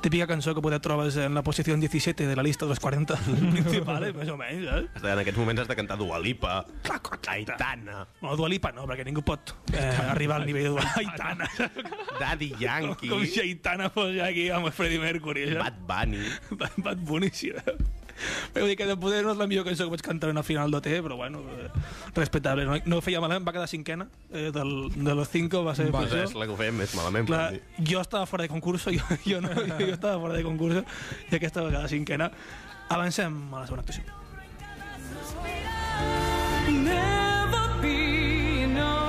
S2: Típica cançó que poder trobes en la posició 17 de la llista dels 40 principals, més o menys, eh?
S1: Has de- En aquests moments has de cantar Dua Lipa,
S2: Clar, clar, clar.
S1: Aitana,
S2: Bueno, Dua Lipa no, perquè ningú pot eh, arribar al nivell de Dua Aitana.
S1: Daddy Yankee,
S2: Com si Aitana fos ja aquí amb Freddie Mercury. Ja.
S1: Bad Bunny...
S2: Bad, bad Bunny, sí. eh? Vull dir que de poder no és la millor cançó que pots cantar en una final d'OT, però bueno, eh, respectable. No, no feia malament, va quedar cinquena. Eh, del, de los cinco va ser...
S3: Va,
S2: pitjor.
S1: És la que ho fèiem més malament,
S2: Clar,
S1: podem dir.
S2: jo estava fora de concurs, jo, jo, no, jo estava fora de concurs, i aquesta vegada cinquena. Avancem a la segona actuació.
S4: Never be enough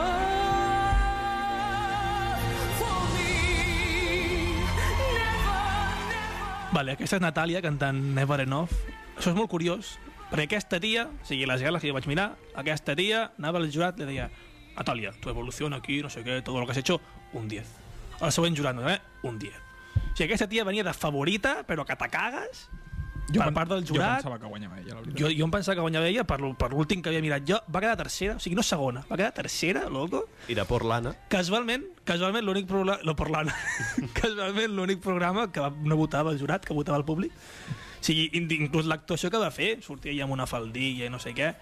S4: for me. Never, never.
S2: Vale, aquesta és Natàlia cantant Never Enough. Això és molt curiós, perquè aquesta tia, o sigui, les gales que jo vaig mirar, aquesta tia anava al jurat i li deia Natàlia, tu evoluciona aquí, no sé què, tot el que has hecho, un 10. El següent jurat, no, eh? un 10. O sigui, aquesta tia venia de favorita, però que te cagues, per
S3: pen-
S2: part del
S3: Jo
S2: jurat.
S3: pensava que guanyava ella, la veritat.
S2: Jo, jo em pensava que guanyava ella per, l- per l'últim que havia mirat jo. Va quedar tercera, o sigui, no segona, va quedar tercera, loco.
S1: I de Portlana,
S2: Casualment, casualment l'únic programa... No, Portlana. casualment l'únic programa que va, no votava el jurat, que votava el públic. O sigui, in- inclús l'actuació que va fer, sortia ella amb una faldilla i no sé què,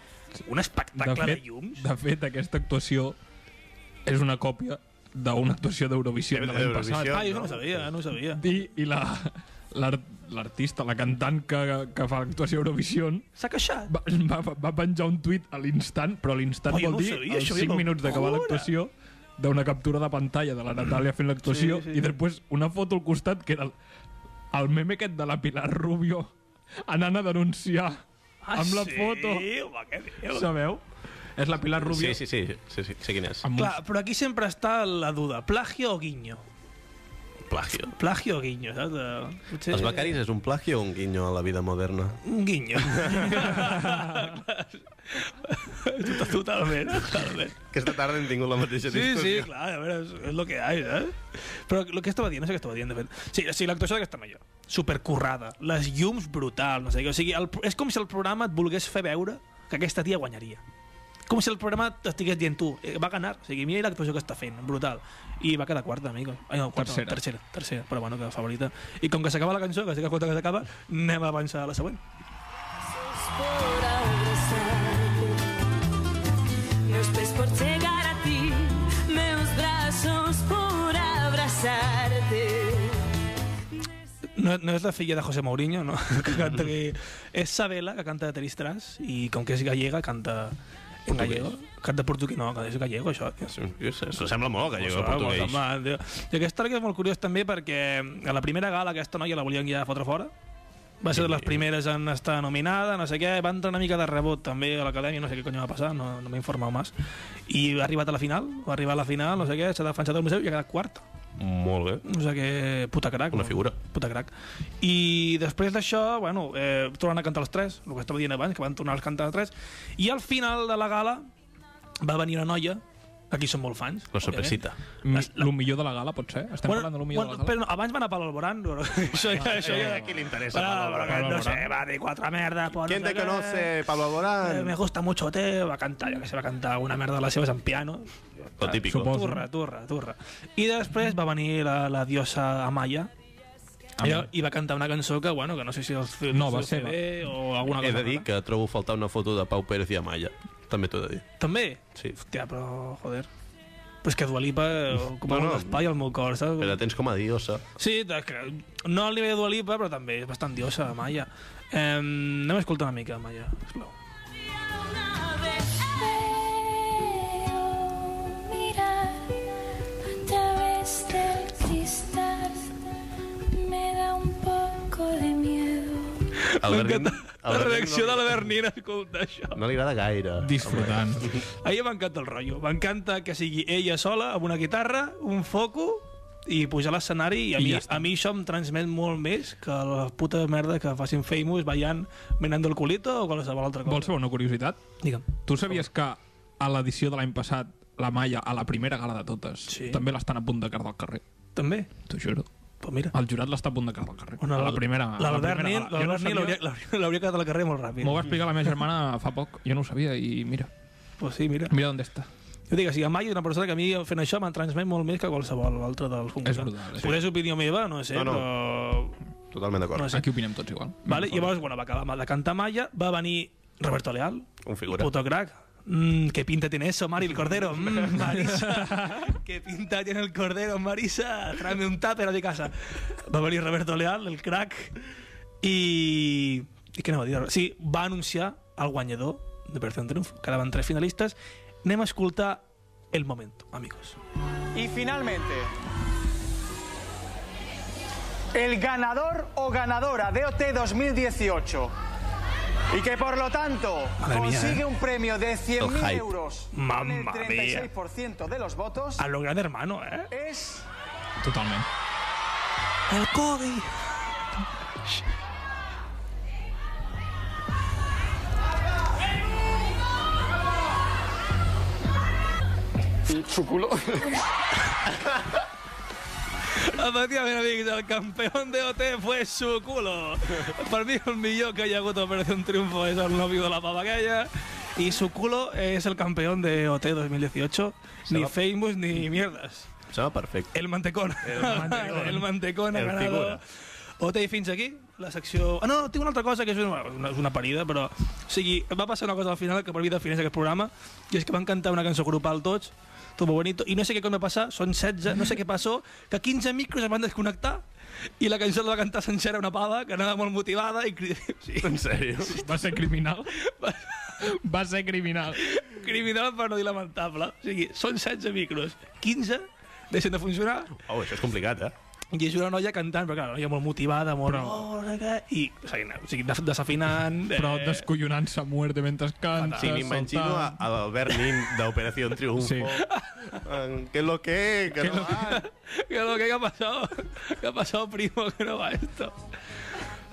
S2: un espectacle de,
S3: fet,
S2: de llums.
S3: de fet, aquesta actuació és una còpia d'una actuació d'Eurovisió de l'any
S6: D'Eurovisió.
S3: passat.
S2: Ah, jo no ho sabia, no ho sabia.
S3: I, i la l'art- l'artista, la cantant que, que fa l'actuació a Eurovisió
S2: S'ha queixat.
S3: va, va, va penjar un tuit a l'instant, però l'instant
S2: Oh, jo
S3: vol
S2: no ho
S3: dir
S2: sabia,
S3: els
S2: això,
S3: 5
S2: jo
S3: minuts d'acabar
S2: locura.
S3: l'actuació d'una captura de pantalla de la Natàlia fent l'actuació
S2: Sí, sí.
S3: i després una foto al costat que era el, el meme aquest de la Pilar Rubio anant a denunciar amb la
S2: Ah, sí?
S3: foto.
S2: Home, què dius?
S3: Sabeu? És la Pilar Rubio.
S1: Sí, sí, sí, sí, sí, sé quin és.
S3: Amb
S2: Clar, però aquí sempre està la duda. Plagio o guinyo?
S1: Plagio.
S2: Plagio o guinyo, saps? Eh, Potser...
S1: Els Becaris és un plagio o un guinyo a la vida moderna?
S2: Un guinyo. Tota- totalment, totalment.
S1: Aquesta tarda hem tingut la mateixa
S2: Sí,
S1: discussió.
S2: sí, clar, a veure, és, és lo que hay, ¿sabes? Però el que estava dient, no sé què estava dient, de fet. Sí, sí l'actuació d'aquesta millor. Supercurrada, les llums brutals, no sé què. O sigui, el, és com si el programa et volgués fer veure que aquesta tia guanyaria. Com si el programa t'estigués dient tu, eh, va ganar. O sigui, mira l'actuació que està fent, brutal. I va quedar quarta, amigo. Ai, no, quarta, tercera.
S3: Tercera.
S2: No, tercera, tercera, però bueno, que favorita. I com que s'acaba la cançó, que sé que escolta que s'acaba, anem a avançar a la següent.
S4: por abrazarte, meus pés por chegar a ti, meus braços por abrazarte.
S2: No, no és la filla de José Mourinho, no? Que canta que... És Sabela, que canta de Teristras, i com que és gallega, canta... En gallego? Canta portuguès, no, que és gallego, això.
S1: Jo sé, Això sembla molt que jo
S2: Home,
S1: portuguès.
S2: home, tio. I aquesta història és molt curiós també perquè a la primera gala aquesta noia la volien ja fotre fora. Va ser de les primeres en estar nominada, no sé què, va entrar una mica de rebot també a l'acadèmia, no sé què cony va passar, no, no m'he informat més. I ha arribat a la final, va arribar a la final, no sé què, s'ha defensat al museu i ha quedat quart.
S1: Molt bé.
S2: No sé què, puta crac.
S1: Una
S2: no?
S1: figura.
S2: Puta crac. I després d'això, bueno, eh, tornen a cantar els tres, el que estava dient abans, que van tornar a cantar els tres, i al final de la gala va venir una noia, aquí som molt fans.
S1: La
S2: òbviament.
S1: sorpresita.
S3: Mi- Lo millor de la gala, pot ser? Estem parlant de lo millor
S2: bueno,
S3: de la gala?
S2: però no, abans van a Pal Alborán, però això ja... Això ja...
S1: Eh, qui li interessa Pablo
S2: Bueno,
S1: Alborán?
S2: perquè, no sé,
S3: Alborán.
S2: va dir quatre merdes... Pues,
S6: ¿Quién
S2: no sé
S6: te
S2: què.
S6: conoce, Pablo
S2: Eh, me
S6: Alborán?
S2: gusta mucho te, va cantar, jo que sé, va cantar alguna merda de les seves en piano. Ah,
S1: Lo típico.
S3: Suposo.
S2: Turra, turra, turra. I després va venir la, la diosa Amaya, Ella, i va cantar una cançó que, bueno, que no sé si els
S3: No, va
S2: el
S3: ser,
S2: CD o alguna cosa.
S1: He de dir
S2: rara.
S1: que trobo faltar una foto de Pau Pérez i Amaya. També t'ho he de dir.
S2: També?
S1: Sí.
S2: Hòstia, però, joder. Però és que Dualipa ocupa
S1: No,
S2: no,
S1: no.
S2: no. espai al meu cor, saps?
S1: Però la tens com a diosa.
S2: Sí, de- que, no al nivell de Dualipa, però també és bastant diosa, Amaya. Eh, anem a escoltar una mica, Amaya, sisplau.
S4: Una vez veo mirar a través del cristal, me da un poco de miedo.
S1: El Bernin- el
S2: La
S1: Bernin
S2: reacció
S1: no,
S2: de la Bernina, escolta això.
S1: No li agrada gaire.
S3: Disfrutant.
S2: A ella m'encanta el rotllo. M'encanta que sigui ella sola, amb una guitarra, un foco i pujar a l'escenari i, a,
S3: I
S2: mi,
S3: ja
S2: ja
S3: està.
S2: a mi això em transmet molt més que la puta merda que facin famous ballant menant del culito o qualsevol altra cosa.
S3: Vols saber una curiositat?
S2: Digue'm.
S3: Tu sabies que a l'edició de l'any passat la Maia, a la primera gala de totes,
S2: Sí.
S3: també l'estan a punt de cardar al carrer.
S2: També?
S3: T'ho juro.
S2: Pues mira.
S3: El jurat l'està a punt de cardar al carrer.
S2: Bueno,
S3: a la primera, a la
S2: L'Albert
S3: primera
S2: Nil
S3: gala. Jo
S2: l'Albert Nil
S3: no
S2: l'hauria
S3: sabia-
S2: l'hauria- l'hauria quedat al carrer molt ràpid.
S3: M'ho va explicar la meva germana fa poc. Jo no ho sabia i mira,
S2: Pues sí, mira.
S3: mira on està.
S2: Jo dic, o sigui, mai una persona que a mi fent això me'n transmet molt més que qualsevol altra dels concursants.
S3: brutal, eh?
S2: Poder és opinió meva, no sé,
S1: No, no.
S2: però...
S1: Totalment d'acord.
S2: No sé.
S3: Aquí opinem tots igual.
S2: Vale? Llavors, bueno, va acabar amb la canta Maya, va venir Roberto Leal,
S1: Un figura.
S2: puto crack. Mm, ¿Qué pinta tiene eso, Mari el Cordero? Mm, Marisa, ¿qué pinta tiene el Cordero, Marisa? Tráeme un tupper a mi casa. Va a venir Roberto Leal, el crack, i... I què anava a dir? Sí, va anunciar el guanyador de Operación Triunfo. Quedaven tres finalistes. Anem a escoltar el moment, amigos.
S7: Y finalmente, el ganador o ganadora de OT 2018 y que por lo tanto
S2: Madre mía,
S7: consigue
S2: ¿eh?
S7: un premio de
S1: El
S7: 100.000
S1: hype.
S7: euros con el
S2: Mamma Ah.
S7: 36% de los votos
S2: A lo gran hermano, eh?
S7: es
S3: Totalment.
S2: El Cody.
S7: su culo.
S2: Efectivament, amics, el campió de OT fue su culo. Per mi el millor que hi ha hagut a Operació Triunfo és el nòvio de la pava aquella. I su culo és el campió de OT 2018. Ni
S1: va-
S2: famous ni mierdas.
S1: Em Sembla perfecte.
S2: El mantecón. El mantecón. el mantecón ha
S1: El
S2: ganado.
S1: figura.
S2: OT i fins aquí, la secció... Ah, no, no, tinc una altra cosa que és una, una- és una parida, però... O sigui, va passar una cosa al final que per mi defineix aquest programa, i és que van cantar una cançó grupal tots, tot molt bonito, i no sé què com va passar, són 16, no sé què passó, que 15 micros es van desconnectar, i la cançó la va cantar sencera una pava, que anava molt motivada, i cri... sí,
S1: En sèrio?
S3: Va ser criminal.
S2: va-
S3: Va ser criminal.
S2: criminal per no dir lamentable. O sigui, són 16 micros, 15 deixen de funcionar,
S1: Oh, això és complicat, eh?
S2: I és una noia cantant, però clar, una noia molt motivada, molt... Oh, no sé què, I, o sigui, no, o sigui des- desafinant... eh,
S3: Però descollonant-se a muerte mentre canta.
S1: Si m'imagino a
S3: saltant.
S1: a l'Albert Nin d'Operació Triunfo.
S3: Sí.
S1: Sí. ¿Qué es lo que es? Que no va.
S2: Que lo que ha passat, que ha passat, primo, que no va esto.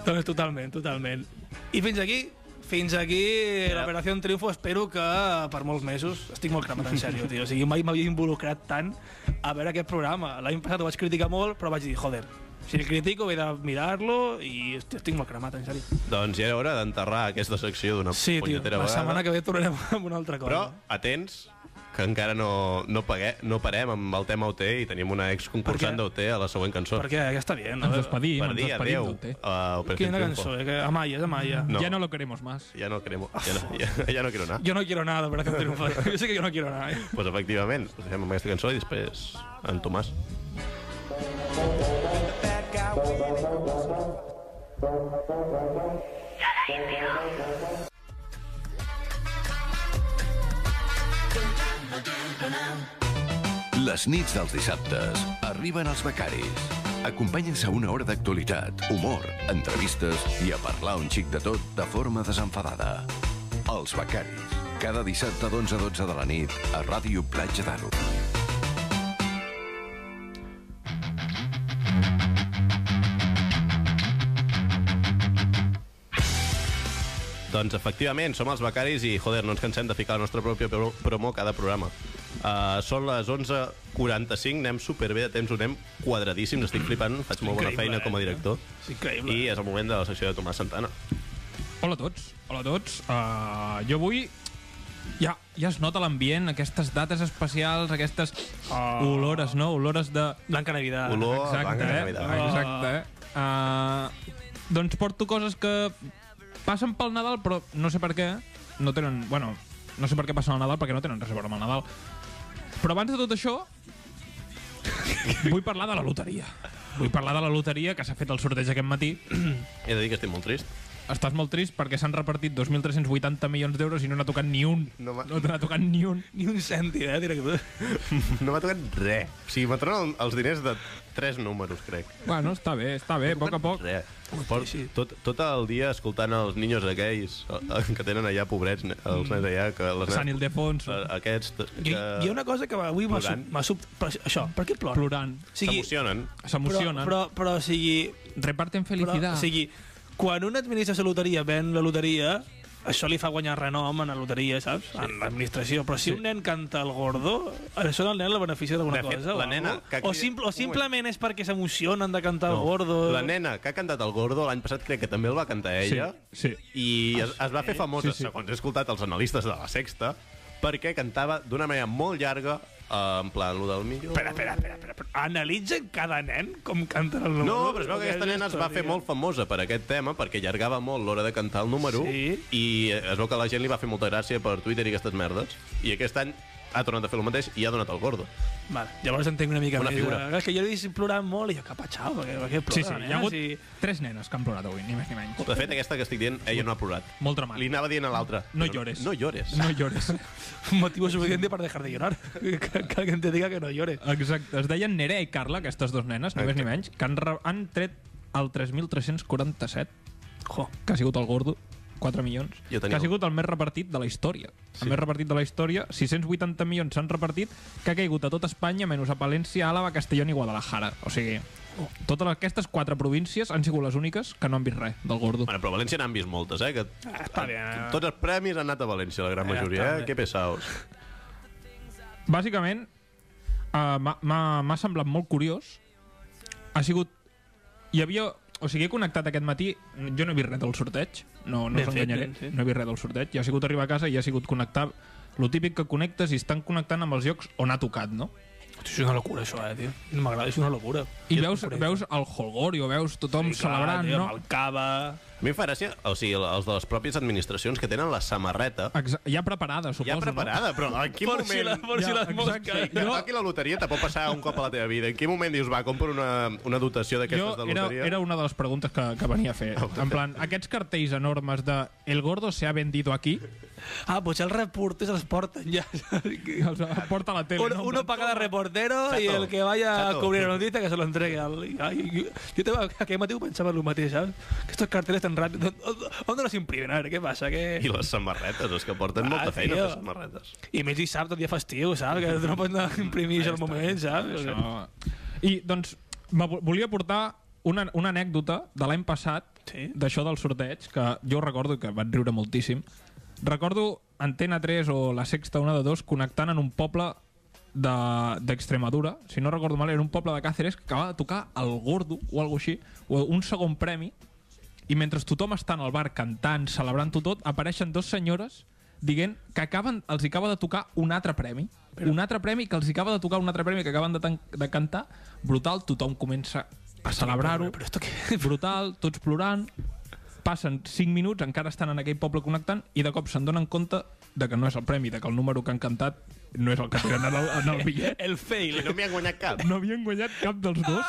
S2: Doncs totalment, totalment. I fins aquí, fins aquí l'Operació Triunfo, espero que per molts mesos, estic molt cremat, en sèrio, tio. O sigui, mai m'havia involucrat tant a veure aquest programa. L'any passat ho vaig criticar molt, però vaig dir, joder, si el critico he de mirar-lo i hosti, estic molt cremat, en sèrio.
S1: Doncs ja era hora d'enterrar aquesta secció d'una
S2: Sí, tio,
S1: punyetera
S2: la
S1: vegada.
S2: setmana que ve tornarem amb una altra cosa.
S1: Però, atents, que encara no, no, pague, no parem amb el tema OT i tenim una
S2: Per què?
S1: exconcursant d'OT a la següent cançó.
S2: Perquè ja està bien, ¿no?
S3: Ens despedim,
S1: Per
S3: ens
S1: dir
S3: despedim.
S1: adéu
S3: del té.
S1: a Operación
S2: Quina
S1: Triunfo.
S2: cançó, eh? Que Amaya, és Amaya.
S1: No.
S3: Ya no lo queremos más.
S1: Ja no cremo, ja no, ja, ja no quiero anar.
S2: Yo no quiero nada, pero que triunfo. Yo sé que yo no quiero nada. eh.
S1: Pues efectivament, us deixem amb aquesta cançó i després en Tomàs.
S8: Les nits dels dissabtes arriben els becaris. Acompanyen-se a una hora d'actualitat, humor, entrevistes i a parlar un xic de tot de forma desenfadada. Els becaris, Cada dissabte d'11 a 12 de la nit a Ràdio Platja d'Aro.
S1: Doncs efectivament, som els becaris i, joder, no ens cansem de ficar la nostra pròpia pro- promo cada programa. Uh, són les 11.45, anem superbé de temps, ho anem quadradíssims, estic flipant, faig molt bona
S2: Increïble,
S1: feina
S2: eh?
S1: com a director.
S2: És increïble.
S3: eh,
S1: I és el moment de la secció de Tomàs Santana.
S3: Hola a tots, hola a tots. Uh, jo avui ja, ja es nota l'ambient, aquestes dates especials, aquestes uh. olores, no? Olores de...
S2: Blanca Navidad.
S1: Olor a
S3: Exacte,
S1: Blanca
S3: eh?
S1: Navidad.
S2: Ah.
S3: Exacte, eh? Uh, doncs porto coses que passen pel Nadal, però no sé per què. No tenen... Bueno, no sé per què passen al Nadal, perquè no tenen res a veure amb el Nadal. Però abans de tot això, vull parlar de la loteria. Vull parlar de la loteria que s'ha fet el sorteig aquest matí.
S1: He de dir que estic molt trist.
S3: Estàs molt trist perquè s'han repartit 2.380 milions d'euros i no n'ha tocat ni un.
S6: No, ma-
S3: no t'ha tocat ni un.
S2: Ni un cèntim, eh? Diré que...
S6: No m'ha tocat res.
S1: O sigui, m'atronen el- els diners de tres números, crec.
S3: Bueno, està bé, està bé, a poc a poc.
S1: Res. Port Oh. tot, tot el dia escoltant els niños aquells eh, eh, que tenen allà, pobrets, ne- els nens allà, que les
S3: Sant
S1: nens,
S3: Ildefonso,
S1: eh, aquests que
S2: Hi, hi ha una cosa que avui m'ha sub...
S1: Plorant.
S2: m'ha sub... Per això, per què plora?
S3: plorant.
S2: O sigui,
S1: s'emocionen.
S2: però,
S3: S'emocionen.
S2: però, però, o sigui...
S3: Reparten
S2: Però,
S3: felicitat.
S2: o sigui, quan una administració de loteria ven la loteria, això li fa guanyar renom en la loteria, saps? En l'administració. Però si
S3: Sí.
S2: un nen canta el gordo, això al nen la beneficia d'alguna
S1: De fet,
S2: cosa. o
S1: la
S2: alguna
S1: nena
S2: cosa?
S1: que
S2: o,
S1: crida-
S2: simple, o
S1: Un
S2: simplement és perquè s'emocionen de cantar el gordo.
S1: La nena que ha cantat el Gordo l'any passat crec que també el va cantar ella
S3: sí. Ah,
S1: i es, es va fer famosa,
S3: Sí, sí.
S1: segons he escoltat els analistes de la Sexta, perquè cantava d'una manera molt llarga eh, en plan, lo del millor...
S2: Espera, espera, espera, espera, espera. Analitzen cada nen com canten el número.
S1: No, però es veu que aquesta nena es va fer molt famosa per aquest tema, perquè allargava molt l'hora de cantar el número,
S2: Sí.
S1: i eh, es veu que la gent li va fer molta gràcia per Twitter i aquestes merdes, i aquest any ha tornat a fer el mateix i ha donat el gordo.
S2: Vale, llavors entenc una mica
S1: Bona
S2: més.
S1: figura.
S2: Eh, És que jo l'he vist plorant molt i jo, cap a xau, perquè, perquè plora,
S3: Sí, sí, hi ha hagut tres nenes que han plorat avui, ni més ni menys.
S1: De fet, aquesta que estic dient, ella no ha plorat.
S3: Molt dramàtic.
S1: Li anava dient a l'altra.
S3: No llores.
S1: No llores.
S3: No llores.
S2: Un motivo suficiente para dejar de llorar. que, que alguien te diga que no llore.
S3: Exacte. Es deien Nerea i Carla, aquestes dues nenes, ni més ni menys, que han, re- han tret el 3.347,
S2: Jo.
S3: que ha sigut el gordo, 4 milions,
S1: Jo tenia
S3: que ha
S1: el-
S3: sigut el més repartit de la història. Sí. El més repartit de la història, 680 milions s'han repartit, que ha caigut a tota Espanya, menys a Palència, Àlava, Castellón i Guadalajara. O sigui, totes aquestes quatre províncies han sigut les úniques que no han vist res del gordo.
S1: Bueno, però a València n'han vist moltes, eh? Que
S2: Ah, està bé. eh?
S1: tots els premis han anat a València, la gran
S2: Ja
S1: majoria,
S2: està
S1: eh?
S2: bé.
S1: Que pesaos.
S3: Bàsicament, uh, m'ha semblat molt curiós. Ha sigut... Hi havia... O sigui, he connectat aquest matí... Jo no he vist res del sorteig. No, no
S2: Ben
S3: us
S2: fet,
S3: enganyaré.
S2: ben fet.
S3: No he vist res del sorteig. Ja ha sigut arribar a casa i ja ha sigut connectar... Lo típic que connectes i estan connectant amb els llocs on ha tocat, no?
S2: Hosti, és una locura, això, eh, tio. No m'agrada, és una locura.
S3: I
S2: Jo
S3: veus,
S2: t'ho crec.
S3: veus el holgorio, veus tothom
S2: Clar,
S3: celebrant,
S2: tio,
S3: no?
S2: Amb el cava...
S1: A mi em fa gràcia, o sigui, els de les pròpies administracions que tenen la samarreta
S3: Exa ja preparada, suposo,
S1: ja preparada, però en quin
S2: Por si, la,
S1: moment...
S2: por si
S3: Ja,
S2: les mosques...
S3: exacte.
S1: Que
S3: Jo-
S1: toqui la loteria, te pot passar un cop a la teva vida. En quin moment dius, va, compro una, una dotació
S3: no? Jo
S1: d'aquestes de
S3: era,
S1: loteria?
S3: era una de les preguntes que, que venia a fer.
S2: Ah,
S3: En plan, aquests cartells enormes de El gordo se ha vendido aquí,
S2: Ah, potser els reporters els porten ja.
S3: els porta a la tele.
S2: Uno,
S3: no?
S2: uno paga de reportero
S1: Chato,
S2: i el que vaya
S1: chato.
S2: a cobrir la noticia que se lo entregue. Al... Ai, jo, jo te, aquell matí ho pensava el mateix, saps? Que estos carteles tan ràpids... On, on los imprimen? A veure, què passa? Que...
S1: I les samarretes, és que porten
S2: Ah,
S1: molta feina,
S2: tio.
S1: les samarretes.
S2: I més dissabte, el dia festiu, saps? Que no pots anar a imprimir això al moment, saps?
S3: Això... I, doncs, me vo- volia portar una, una anècdota de l'any passat,
S2: Sí.
S3: d'això del sorteig, que jo recordo que vaig riure moltíssim. Recordo Antena 3 o la Sexta, una de dos, connectant en un poble de- d'Extremadura, si no recordo mal, era un poble de Càceres que acabava de tocar el gordo o alguna així, o un segon premi, i mentre tothom està en el bar cantant, celebrant-ho tot, apareixen dos senyores dient que acaben, els hi acaba de tocar un altre premi. Però... Un altre premi que els hi acaba de tocar un altre premi que acaben de, tan- de cantar. Brutal, tothom comença a celebrar-ho.
S2: Però esto què?
S3: Brutal, tots plorant. Passen 5 minuts, encara estan en aquell poble connectant i de cop se'n donen compte de que no és el premi, de que el número que han cantat no és el que tenen en el, en el bitllet.
S2: El fail.
S1: No m'hi han guanyat cap.
S3: No havien guanyat cap dels dos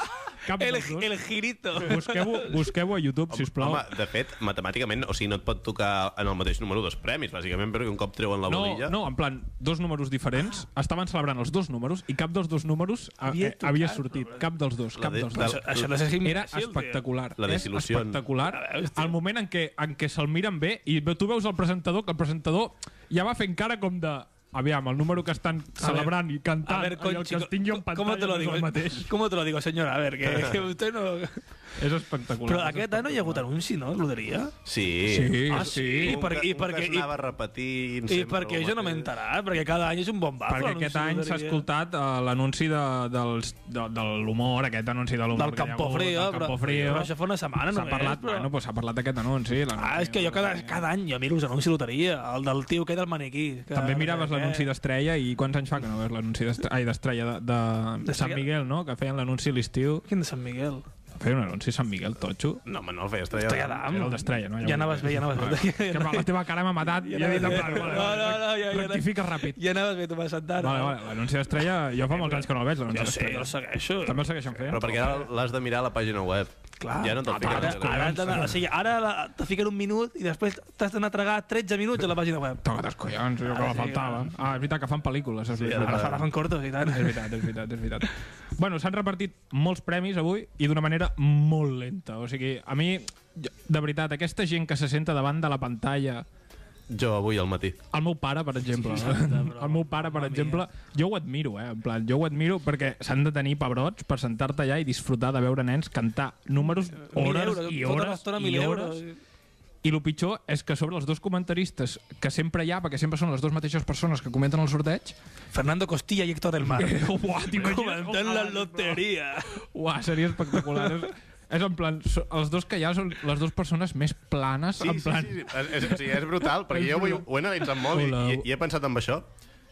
S3: cap
S2: El,
S3: dels dos.
S2: el girito.
S3: Busqueu-ho busqueu a YouTube, sisplau.
S1: Home, de fet, matemàticament, o sigui, no et pot tocar en el mateix número dos premis, bàsicament, perquè un cop treuen la
S3: No,
S1: bolilla...
S3: no, en plan, dos números diferents.
S1: Ah.
S3: Estaven celebrant els dos números i cap dels dos números a,
S2: Havia
S3: eh, havia
S2: tocat,
S3: sortit. Cap dels dos, cap
S1: de-
S3: dels
S1: la-
S3: dos.
S2: Això- Això no és gimnasia,
S3: Era
S2: tio.
S3: espectacular.
S1: La
S3: és
S1: desilusió.
S3: espectacular.
S2: Ah,
S3: El moment en què, en què se'l miren bé i ve- tu veus el presentador, que el presentador ja va fent cara com de... Aviam, el número que estan celebrant i
S2: A
S3: cantant
S2: ver,
S3: i el
S2: Conchi,
S3: que estic jo en pantalla
S2: ¿cómo te lo
S3: no és
S2: digo?
S3: el mateix.
S2: ¿Cómo te lo digo, señora? A ver, que, que usted no...
S3: És espectacular.
S2: Però aquest any no hi ha hagut anunci, no, de loteria?
S1: Sí.
S3: Sí,
S2: Ah,
S3: sí.
S2: sí? I
S1: Un
S2: per-
S1: que-
S2: i
S1: un
S2: per
S1: que
S2: què- i-
S1: s'anava repetint...
S2: I
S1: sempre
S2: perquè
S1: el
S2: jo no m'he
S1: mateix.
S2: enterat, perquè cada any és un bombazo.
S3: Perquè
S2: Ah, l'anunci
S3: aquest
S2: de
S3: any s'ha
S2: loteria.
S3: escoltat eh, l'anunci de, dels, de, de l'humor, aquest anunci de l'humor
S2: Del Campo Frío,
S3: Del
S2: però,
S3: Campo Frío.
S2: però això fa una setmana
S3: S'ha
S2: només.
S3: parlat,
S2: però...
S3: bueno, pues eh, s'ha parlat d'aquest anunci. l'anunci
S2: Ah, és que jo cada, cada any jo miro els anuncis de loteria, el del tio que del maniquí. Que,
S3: També miraves
S2: que-
S3: l'anunci d'Estrella i quants anys fa que no veus l'anunci d'Estrella, ai, d'Estrella de, de,
S2: D'Estrella-
S3: Sant Miguel, no? Que feien l'anunci a l'estiu.
S2: Quin de Sant Miguel?
S3: Feien un anunci a Sant Miguel, totxo.
S1: No, home, no el feia estrella.
S2: Estrella d'Am.
S3: Era el d'Estrella, no?
S2: Ja anaves bé, ja anaves bé.
S3: Que va, la teva cara m'ha matat i he dit en plan, vale,
S2: No,
S3: vale,
S2: no, no, ja- ja-
S3: rectifica ràpid.
S2: Ja anaves bé, tu vas sentar.
S3: Vale, vale, l'anunci d'Estrella, jo fa molts anys que no el veig, l'anunci
S2: Jo sé, jo
S3: d'Estrella.
S2: el segueixo.
S3: També el segueixen fent?
S1: Però perquè ara l'has de mirar a la pàgina web.
S2: Clar.
S1: Ja no te'l eh? fiquen.
S2: Ara,
S1: al
S2: ara,
S1: web.
S2: has d'anar- o sigui, ara la, te fiquen un minut i després t'has d'anar a tragar 13 minuts a la pàgina web.
S3: Toca els collons, jo que la
S2: sí,
S3: faltava. Ah, és veritat que fan pel·lícules, és veritat.
S1: ara
S2: Ara fan cortos i tant.
S3: És veritat, és veritat, és veritat. Bueno, s'han repartit molts premis avui i d'una manera molt lenta. O sigui, a mi, jo- de veritat, aquesta gent que se senta davant de la pantalla...
S1: Jo avui al matí.
S3: El meu pare, per exemple. eh? el meu pare, per exemple, jo ho admiro, eh? En plan, jo ho admiro perquè s'han de tenir pebrots per sentar-te allà i disfrutar de veure nens cantar números,
S2: Mil
S3: hores
S2: euros,
S3: i
S2: tota
S3: hores
S2: l'estona,
S3: i
S2: mil euros.
S3: hores. I el pitjor és que sobre els dos comentaristes que sempre hi ha, perquè sempre són les dues mateixes persones que comenten el sorteig...
S2: Fernando Costilla i Héctor del Mar.
S3: Eh, Uah, t'imagines?
S2: Comentant la loteria.
S3: Uah, seria espectacular. és, és en plan, so- els dos que hi ha són les dues persones més planes,
S1: Sí,
S3: en plan...
S1: sí, sí, sí. És, és, sí, és brutal, perquè jo avui ho he analitzat molt i,
S3: Hola.
S1: i, i he pensat en això,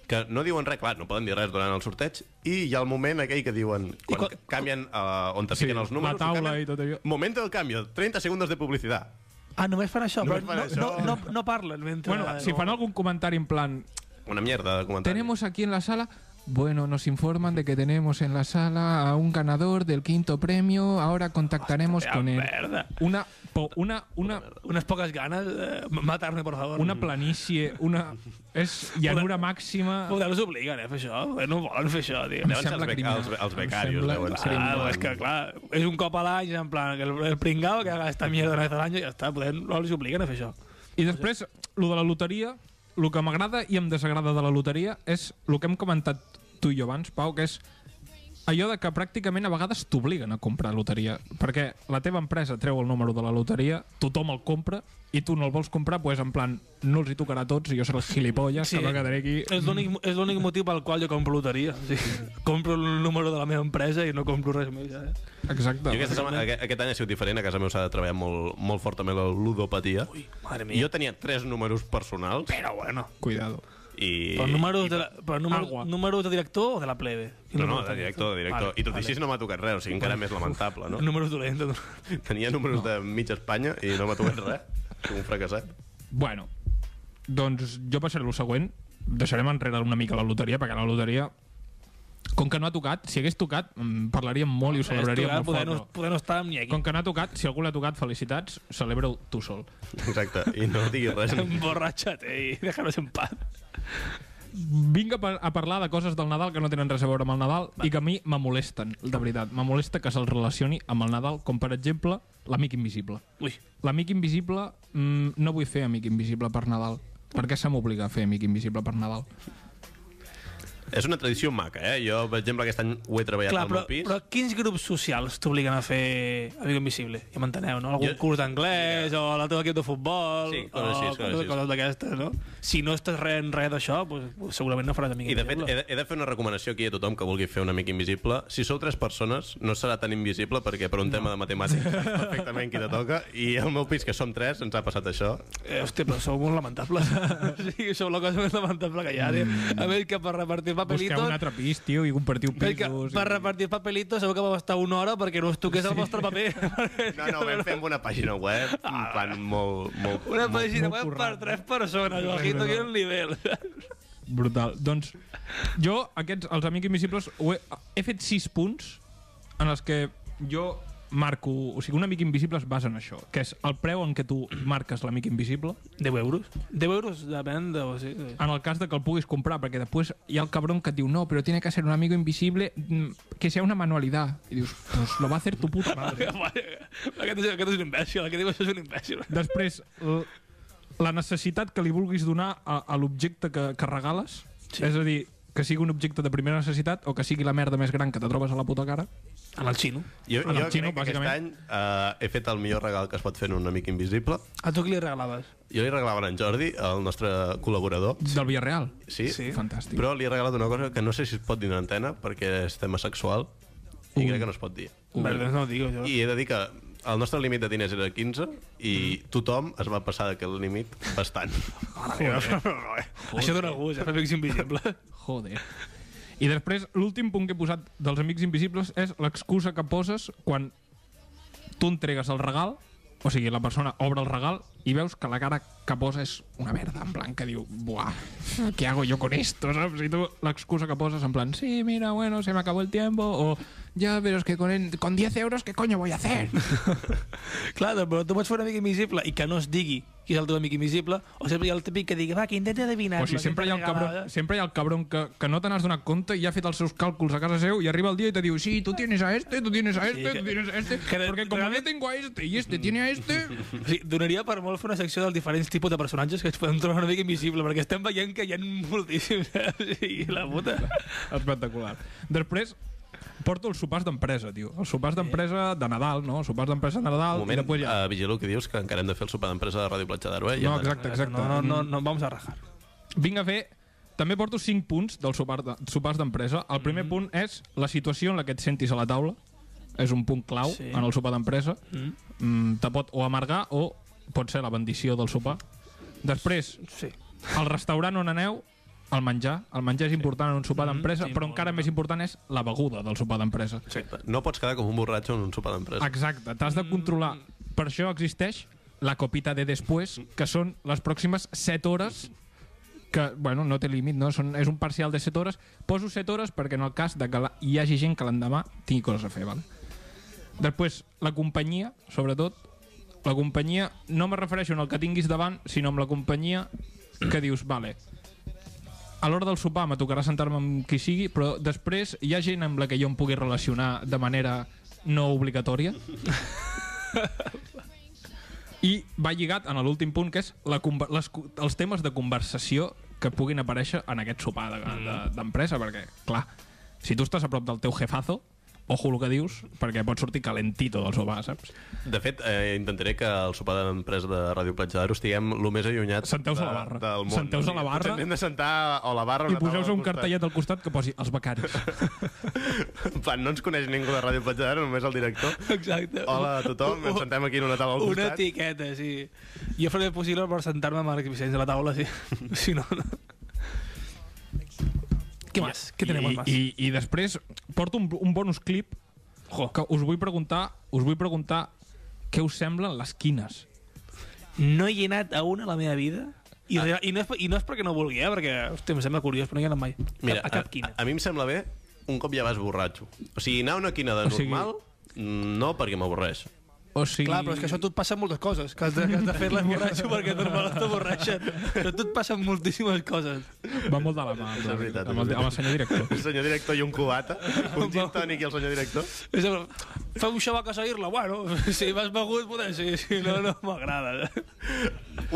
S1: que no diuen res, clar, no poden dir res durant el sorteig, i hi ha el moment aquell que diuen, quan,
S2: quan-
S1: quan canvien uh, on te
S3: Sí,
S1: fiquen els números...
S3: la taula
S1: ho canvien,
S3: i tot allò.
S1: Momento del cambio, 30 segundos de publicidad.
S2: Ah, només fan això,
S1: Només
S2: però
S1: fan
S2: no,
S1: això.
S2: no, no, no parlen mentre...
S3: Bueno, si fan algun comentari en plan...
S1: Una mierda de comentari.
S3: Tenemos aquí en la sala... Bueno, nos informan de que tenemos en la sala a un ganador del quinto premio. Ahora contactaremos con él.
S2: Ah, merda.
S3: Una, po- una, una,
S2: Unes poques ganes, eh, matar-me, por favor.
S1: Mm.
S3: una planície, una... És llanura màxima...
S2: Poder els obliguen eh, a fer això, Poder no volen fer això, tio.
S3: Em
S1: Deuen ser els
S3: sembla
S1: bec-
S3: criminal.
S1: els be- els
S3: Em
S1: becarios,
S3: sembla
S1: deuen ser.
S2: Clar,
S1: Sí,
S2: pues és que clar, és un cop a l'any, en plan, que el, el pringao que haga esta mierda una vez al año i ja està, poder no els obliguen a fer això.
S3: I després, lo de la loteria, el que m'agrada i em desagrada de la loteria és el que hem comentat tu i jo abans, Pau, que és allò de que pràcticament a vegades t'obliguen a comprar loteria, perquè la teva empresa treu el número de la loteria, tothom el compra i tu no el vols comprar, doncs en plan no els hi tocarà a tots i jo seré el gilipolles sí. que me quedaré aquí
S2: És l'únic és l'únic motiu pel qual jo compro loteria. O sigui, compro el número de la meva empresa i no compro res més. Eh?
S3: exacte
S1: Jo aquesta setmana, aquest, aquest any ha sigut diferent, a casa meu s'ha de treballar molt, molt fortament la ludopatia. Ui,
S2: madre mia.
S1: jo tenia tres números personals
S2: Però bueno.
S3: cuidado
S1: i...
S2: Però números de, la, però número,
S3: Agua.
S2: números de director o de la plebe?
S1: No, no, de director, de director. I tot i així no m'ha tocat res, o sigui, encara més lamentable, no?
S2: Números dolents.
S1: Tenia números de mitja Espanya i no m'ha tocat res. Soc un fracassat.
S3: Bueno, doncs jo passaré el següent. Deixarem enrere una mica la loteria, perquè la loteria, com que no ha tocat, si hagués tocat, mm, parlaríem molt i ho celebraríem molt
S2: poder,
S3: fort.
S2: no,
S3: però
S2: poder no estar ni aquí.
S3: Com que no ha tocat, si algú l'ha tocat, felicitats, celebra-ho tu sol.
S1: Exacte, i no diguis res.
S2: Emborratxa't eh, i deixa'ns en paz.
S3: Vinc a, par a parlar de coses del Nadal que no tenen res a veure amb el Nadal i que a mi me molesten, de veritat. Me molesta que se'ls relacioni amb el Nadal, com per exemple l'amic invisible.
S2: Ui,
S3: L'amic invisible, mm, no vull fer amic invisible per Nadal. Per què se m'obliga a fer amic invisible per Nadal?
S1: És una tradició maca, eh? Jo, per exemple, aquest any ho he treballat
S2: clar,
S1: al
S2: però,
S1: meu pis.
S2: però quins grups socials t'obliguen a fer Amigo Invisible? Ja m'enteneu, no? Algun
S1: Jo-
S2: curs d'anglès o la teva equip de futbol
S1: Sí, coses així,
S2: o
S1: coses així.
S2: coses d'aquestes, no? Si no estàs res en res d'això, pues, segurament no faràs Amigo
S1: I, de fet, he
S2: Invisible.
S1: de, he de fer una recomanació aquí a tothom que vulgui fer un amic invisible. Si sou tres persones, no serà tan invisible perquè per un tema de matemàtiques saps perfectament qui te toca. I al meu pis, que som tres, ens ha passat això.
S2: Eh, hòstia, però sou molt lamentables. sí, sou la cosa més lamentable que hi ha. Mm. A veure, que per repartir
S3: Busqueu
S2: papelitos...
S3: un altre pis, tio, i compartiu
S2: Veig que
S3: pisos...
S2: per
S3: i-
S2: repartir papelitos segur que vau estar una hora perquè no us toqués sí. el vostre paper.
S1: No, no, ho vam fer amb una pàgina web, en plan molt... molt
S2: Una pàgina web per
S3: currat.
S2: tres persones, bajito que un nivell.
S3: Brutal. Doncs jo, aquests, els Amics Invisibles, ho he, he fet sis punts en els que jo marco... O sigui, un amic invisible es basa en això, que és el preu en què tu marques l'amic invisible,
S2: 10 euros. 10 euros depèn de... O sigui,
S3: en el cas de que el puguis comprar, perquè després hi ha el cabrón que et diu no, però tiene que ser un amigo invisible mm, que sea una manualidad. I dius, pues lo va a hacer tu puta madre.
S2: aquest, és, aquest és un imbècil, el que diu això és un imbècil.
S3: Després, l- la necessitat que li vulguis donar a, a l'objecte que, que regales, sí. és a dir, que sigui un objecte de primera necessitat o que sigui la merda més gran que te trobes a la puta cara.
S2: En el xino.
S1: Jo,
S3: En el
S1: jo
S3: xino,
S1: crec que aquest any
S3: bàsicament.
S1: uh, he fet el millor regal que es pot fer en un amic invisible.
S2: A tu què li regalaves?
S1: Jo li regalava a en Jordi, el nostre col·laborador.
S3: Sí. Del Villarreal.
S1: Sí,
S2: Sí.
S3: Fantàstic.
S1: però li he regalat una cosa que no sé si es pot dir en antena perquè és tema sexual i crec que no es pot dir.
S2: Vale, no ho digo jo.
S1: I he de dir que el nostre límit de diners era 15 i
S3: Mm.
S1: tothom es va passar d'aquest límit bastant.
S2: eh. Això dona gust, eh? Amics invisibles.
S3: Joder. I després, l'últim punt que he posat dels Amics Invisibles és l'excusa que poses quan tu entregues el regal, o sigui, la persona obre el regal i veus que la cara que posa és una merda, en plan, que diu, buah, ¿qué hago yo con esto? Saps? I tu l'excusa que poses en plan, sí, mira, bueno, se me acabó el tiempo, o ya, pero es que con, el- con 10 euros, ¿qué coño voy a hacer?
S2: Clar, doncs, però tu pots fer un amic invisible i que no es digui qui és el teu amic invisible, o sempre hi ha el típic que digui, va, que intenta adivinar.
S3: O sigui, sempre hi ha el cabron, sempre hi ha el cabron que, que no te n'has donat compte i ja ha fet els seus càlculs a casa seu i arriba el dia i te diu sí, tu tienes a este, tu tienes a este,
S2: que-
S3: tu tienes a este,
S2: que-
S3: porque como yo
S2: realment-
S3: tengo a este y este tiene a este...
S2: O sigui, donaria per molt fer una secció dels diferents tipus de personatges que ens podem trobar una mica invisible, perquè estem veient que hi ha moltíssims, eh? O sigui, la puta...
S3: Espectacular. Després, porto els sopars d'empresa, tio. Els sopars d'empresa de Nadal, no? Els sopars d'empresa de
S1: Un
S3: Nadal...
S1: moment,
S3: Ah, i després ja...
S1: uh, vigilo que dius que encara hem de fer el sopar d'empresa de Ràdio Platja d'Aro, eh?
S3: No,
S1: hem d'anar.
S3: exacte, exacte.
S2: No, no, no, no vamos a rajar.
S3: Vinc a fer... També porto 5 punts dels sopar de, sopars d'empresa.
S2: Mm-hmm.
S3: El primer mm. punt és la situació en la que et sentis a la taula. És un punt clau
S2: Sí.
S3: sí. en el sopar d'empresa. Mm. Mm, te pot o amargar o pot ser la bendició del sopar. Després,
S2: Sí.
S3: el restaurant on aneu, el menjar. El menjar és important en un sopar d'empresa,
S2: Mm-hmm. sí,
S3: però
S2: molt
S3: encara més important és la beguda del sopar d'empresa.
S1: Exacte. No pots quedar com un borratxo en un sopar d'empresa.
S3: Exacte, t'has de controlar. Per això existeix la copita de després, que són les pròximes 7 hores que, bueno, no té límit, no? Són, és un parcial de 7 hores. Poso 7 hores perquè en el cas de que la, hi hagi gent que l'endemà tingui coses a fer, val? Després, la companyia, sobretot, la companyia, no me refereixo en el que tinguis davant, sinó amb la companyia que dius, vale, a l'hora del sopar me tocarà sentar-me amb qui sigui, però després hi ha gent amb la que jo em pugui relacionar de manera no obligatòria. I va lligat en l'últim punt, que és la, conver- les, co- els temes de conversació que puguin aparèixer en aquest sopar de- de- d'empresa, de, perquè, clar, si tu estàs a prop del teu jefazo, ojo el que dius, perquè pot sortir calentito del sopar, saps?
S1: De fet, eh, intentaré que el sopar d'empresa de Ràdio Platja d'Aro estiguem el més allunyats
S3: Senteu-vos
S1: de,
S3: a la barra.
S1: del món.
S3: Senteu-vos a la barra.
S1: Ens hem de sentar a la barra.
S3: I
S1: una taula
S3: poseu-se
S1: al
S3: un
S1: costat.
S3: cartellet al costat que posi els becaris.
S1: En plan, no ens coneix ningú de Ràdio Platja d'Aro, només el director.
S2: Exacte.
S1: Hola a tothom, ens sentem aquí en una taula al
S2: Una
S1: costat.
S2: etiqueta, sí. Jo faré el possible per sentar-me amb Marc Vicenç a la taula, sí. si no, no. Què més? Què tenim
S3: I,
S2: més?
S3: i, I després porto un, un bonus clip jo. que us vull preguntar us vull preguntar què us semblen les quines.
S2: No he anat a una a la meva vida
S1: Ah.
S2: i, real, i, no, és, per- i no és perquè no vulgui, eh? perquè hosti, em sembla curiós, però no hi he anat mai.
S1: Mira,
S2: a, a cap quina.
S1: A, a mi em sembla bé un cop ja vas borratxo. O sigui, anar a una quina de
S3: O sigui-
S1: normal, mm, no, perquè m'avorreix.
S3: O sigui,
S2: Clar, però és que això a tu et passa moltes coses, que has de, que has de fer-les borratxo perquè normalment t'avorreixen. Però a tu et passen moltíssimes coses.
S3: va molt de la mà amb,
S1: És
S3: la,
S1: veritat,
S3: amb,
S1: és
S3: el, amb el senyor director.
S1: El senyor director i un cubata, un gin tònic i el senyor director.
S2: És a dir, Feu un xabac a seguir-la, bueno, si m'has begut, poder, si, si no, no m'agrada.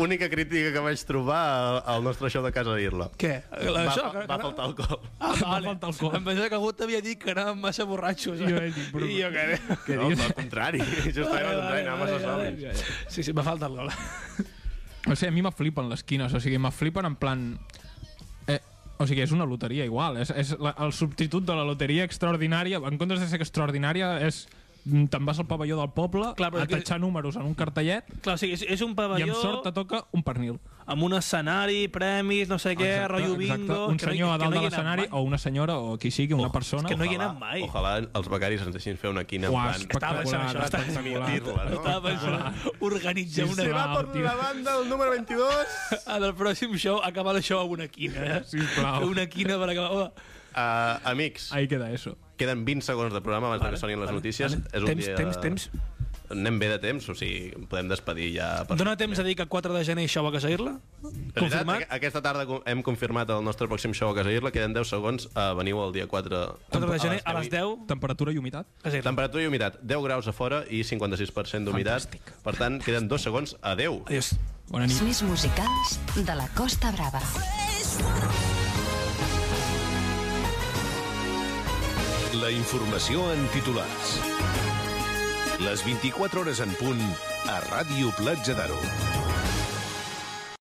S1: Única crítica que vaig trobar al- al nostre show de casa dir-la.
S2: Què?
S1: Va,
S2: Això,
S1: va,
S2: que-
S1: va
S2: que-
S1: faltar alcohol.
S2: Ah,
S3: Va
S2: vale.
S3: faltar alcohol.
S2: Em pensava que algú t'havia dit que anàvem massa borratxos.
S3: Jo vaig dir, però-
S2: I jo que...
S1: Què no, al contrari. Jo estava al contrari, anava massa sobri.
S2: Sí, sí, me falta alcohol.
S3: O sigui, a mi me flipen les quines, o sigui, me flipen en plan... Eh, o sigui, és una loteria igual, és, és la, el substitut de la loteria extraordinària, en comptes de ser extraordinària, és mm, te'n vas al pavelló del poble
S2: Clar, però
S3: a
S2: és que-
S3: tatxar números en un cartellet
S2: Clar, o sigui, és, és un
S3: i
S2: pavelló
S3: amb sort te toca un pernil.
S2: amb un escenari, premis, no sé què, rotllo bingo...
S3: Un
S2: que no hi-
S3: senyor a
S2: que no
S3: dalt
S2: hi he
S3: de
S2: anat
S3: l'escenari
S2: mai. Oh,
S3: o una senyora o qui sigui, una persona.
S2: que no hi he anat
S1: Ojalà-
S2: mai.
S1: Ojalà els becaris ens deixin fer una quina en
S3: Uah,
S1: plan...
S2: Estava pensant això,
S1: Dir-la,
S2: estava
S3: espectacular, espectacular.
S1: no?
S2: Estava pensant, organitzar una...
S3: sisplau, tio.
S1: banda del número 22.
S2: En el pròxim show acabar això amb una quina. Eh?
S3: Sisplau.
S2: Una quina per acabar... Home,
S1: Uh, amics,
S3: Ahí queda eso.
S1: Queden 20 segons de programa abans vale, que sonin les
S2: vale,
S1: notícies.
S2: vale.
S1: És un
S2: Temps,
S1: dia...
S2: temps, temps.
S1: Anem bé de temps, o sigui, podem despedir ja... Per...
S2: Dóna temps a dir que el 4 de gener això va a Casairla?
S1: En realitat,
S2: Confirmat?
S1: aqu- Aquesta tarda co- hem confirmat el nostre pròxim show a Casairla, queden 10 segons, eh, veniu el dia 4...
S2: 4 de gener a les 10,
S3: Temperatura i humitat?
S2: Casairla.
S1: Temperatura i humitat, 10 graus a fora i 56% d'humitat. Per tant, queden 2 segons. Adeu.
S2: Adiós.
S3: Bona nit.
S9: Els més musicals de la Costa Brava.
S8: La informació en titulars. Les 24 hores en punt a Ràdio Platja d'Aro.